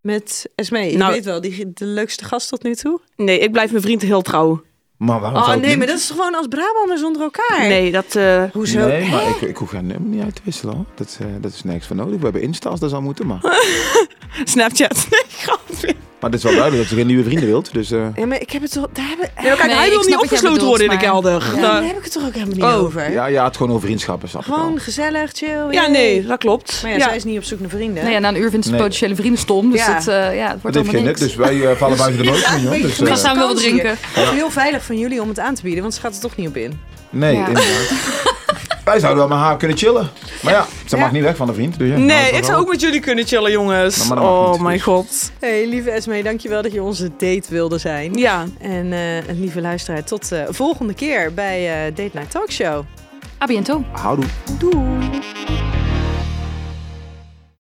Met Esmee. Ik Nou- weet wel, die, de leukste gast tot nu toe. Nee, ik blijf mijn vriend heel trouw. Maar waarom Oh zou ik nee, niet? maar dat is gewoon als Brabanders onder elkaar. Nee, dat... eh, Hoezo? Nee, maar ik, ik hoef haar nummer niet uit te wisselen. hoor. Dat, eh, dat is niks voor nodig. We hebben Insta als dat zou moeten, maar... Snapchat. Nee, grapje. Maar het is wel duidelijk dat ze geen nieuwe vrienden wilt. Dus eh, Ja, maar ik heb het toch... Daar hebben, Nee, maar kijk, Nee, hij ik wil snap niet wat jij opgesloten bedoelt, worden in de maar- kelder. Ja, Da- daar heb ik het toch ook helemaal niet Oh. over? ja, ja, het gewoon over vriendschappen. Snap ik wel. Gewoon gezellig, chill. Ja, yay. nee, dat klopt. Maar ja, Ja. zij is niet op zoek naar vrienden. Nou ja, na een uur vindt ze Nee. potentiële vrienden stom. Dus Ja. dat, eh, ja, het Het wordt heeft geen allemaal niks. nut, dus wij eh, vallen buiten de boot. Ja, niet, hoor. een Dus, beetje eh, We gaan wel wat vakantie. drinken. Of heel veilig van jullie om het aan te bieden, want ze gaat er toch niet op in. nee, Ja. inderdaad. Wij zouden wel met haar kunnen chillen. Maar ja, ze mag niet weg van de vriend. Dus ja, nou, Nee, dat ik zou wel. ook met jullie kunnen chillen, jongens. Maar dat mag oh, niet, mijn dus. god. hey, lieve Esmee, dankjewel dat je onze date wilde zijn. Ja, En eh, lieve luisteraar, tot eh, de volgende keer bij eh Date Night Talk Show. A bientôt. Houdoe. Doei!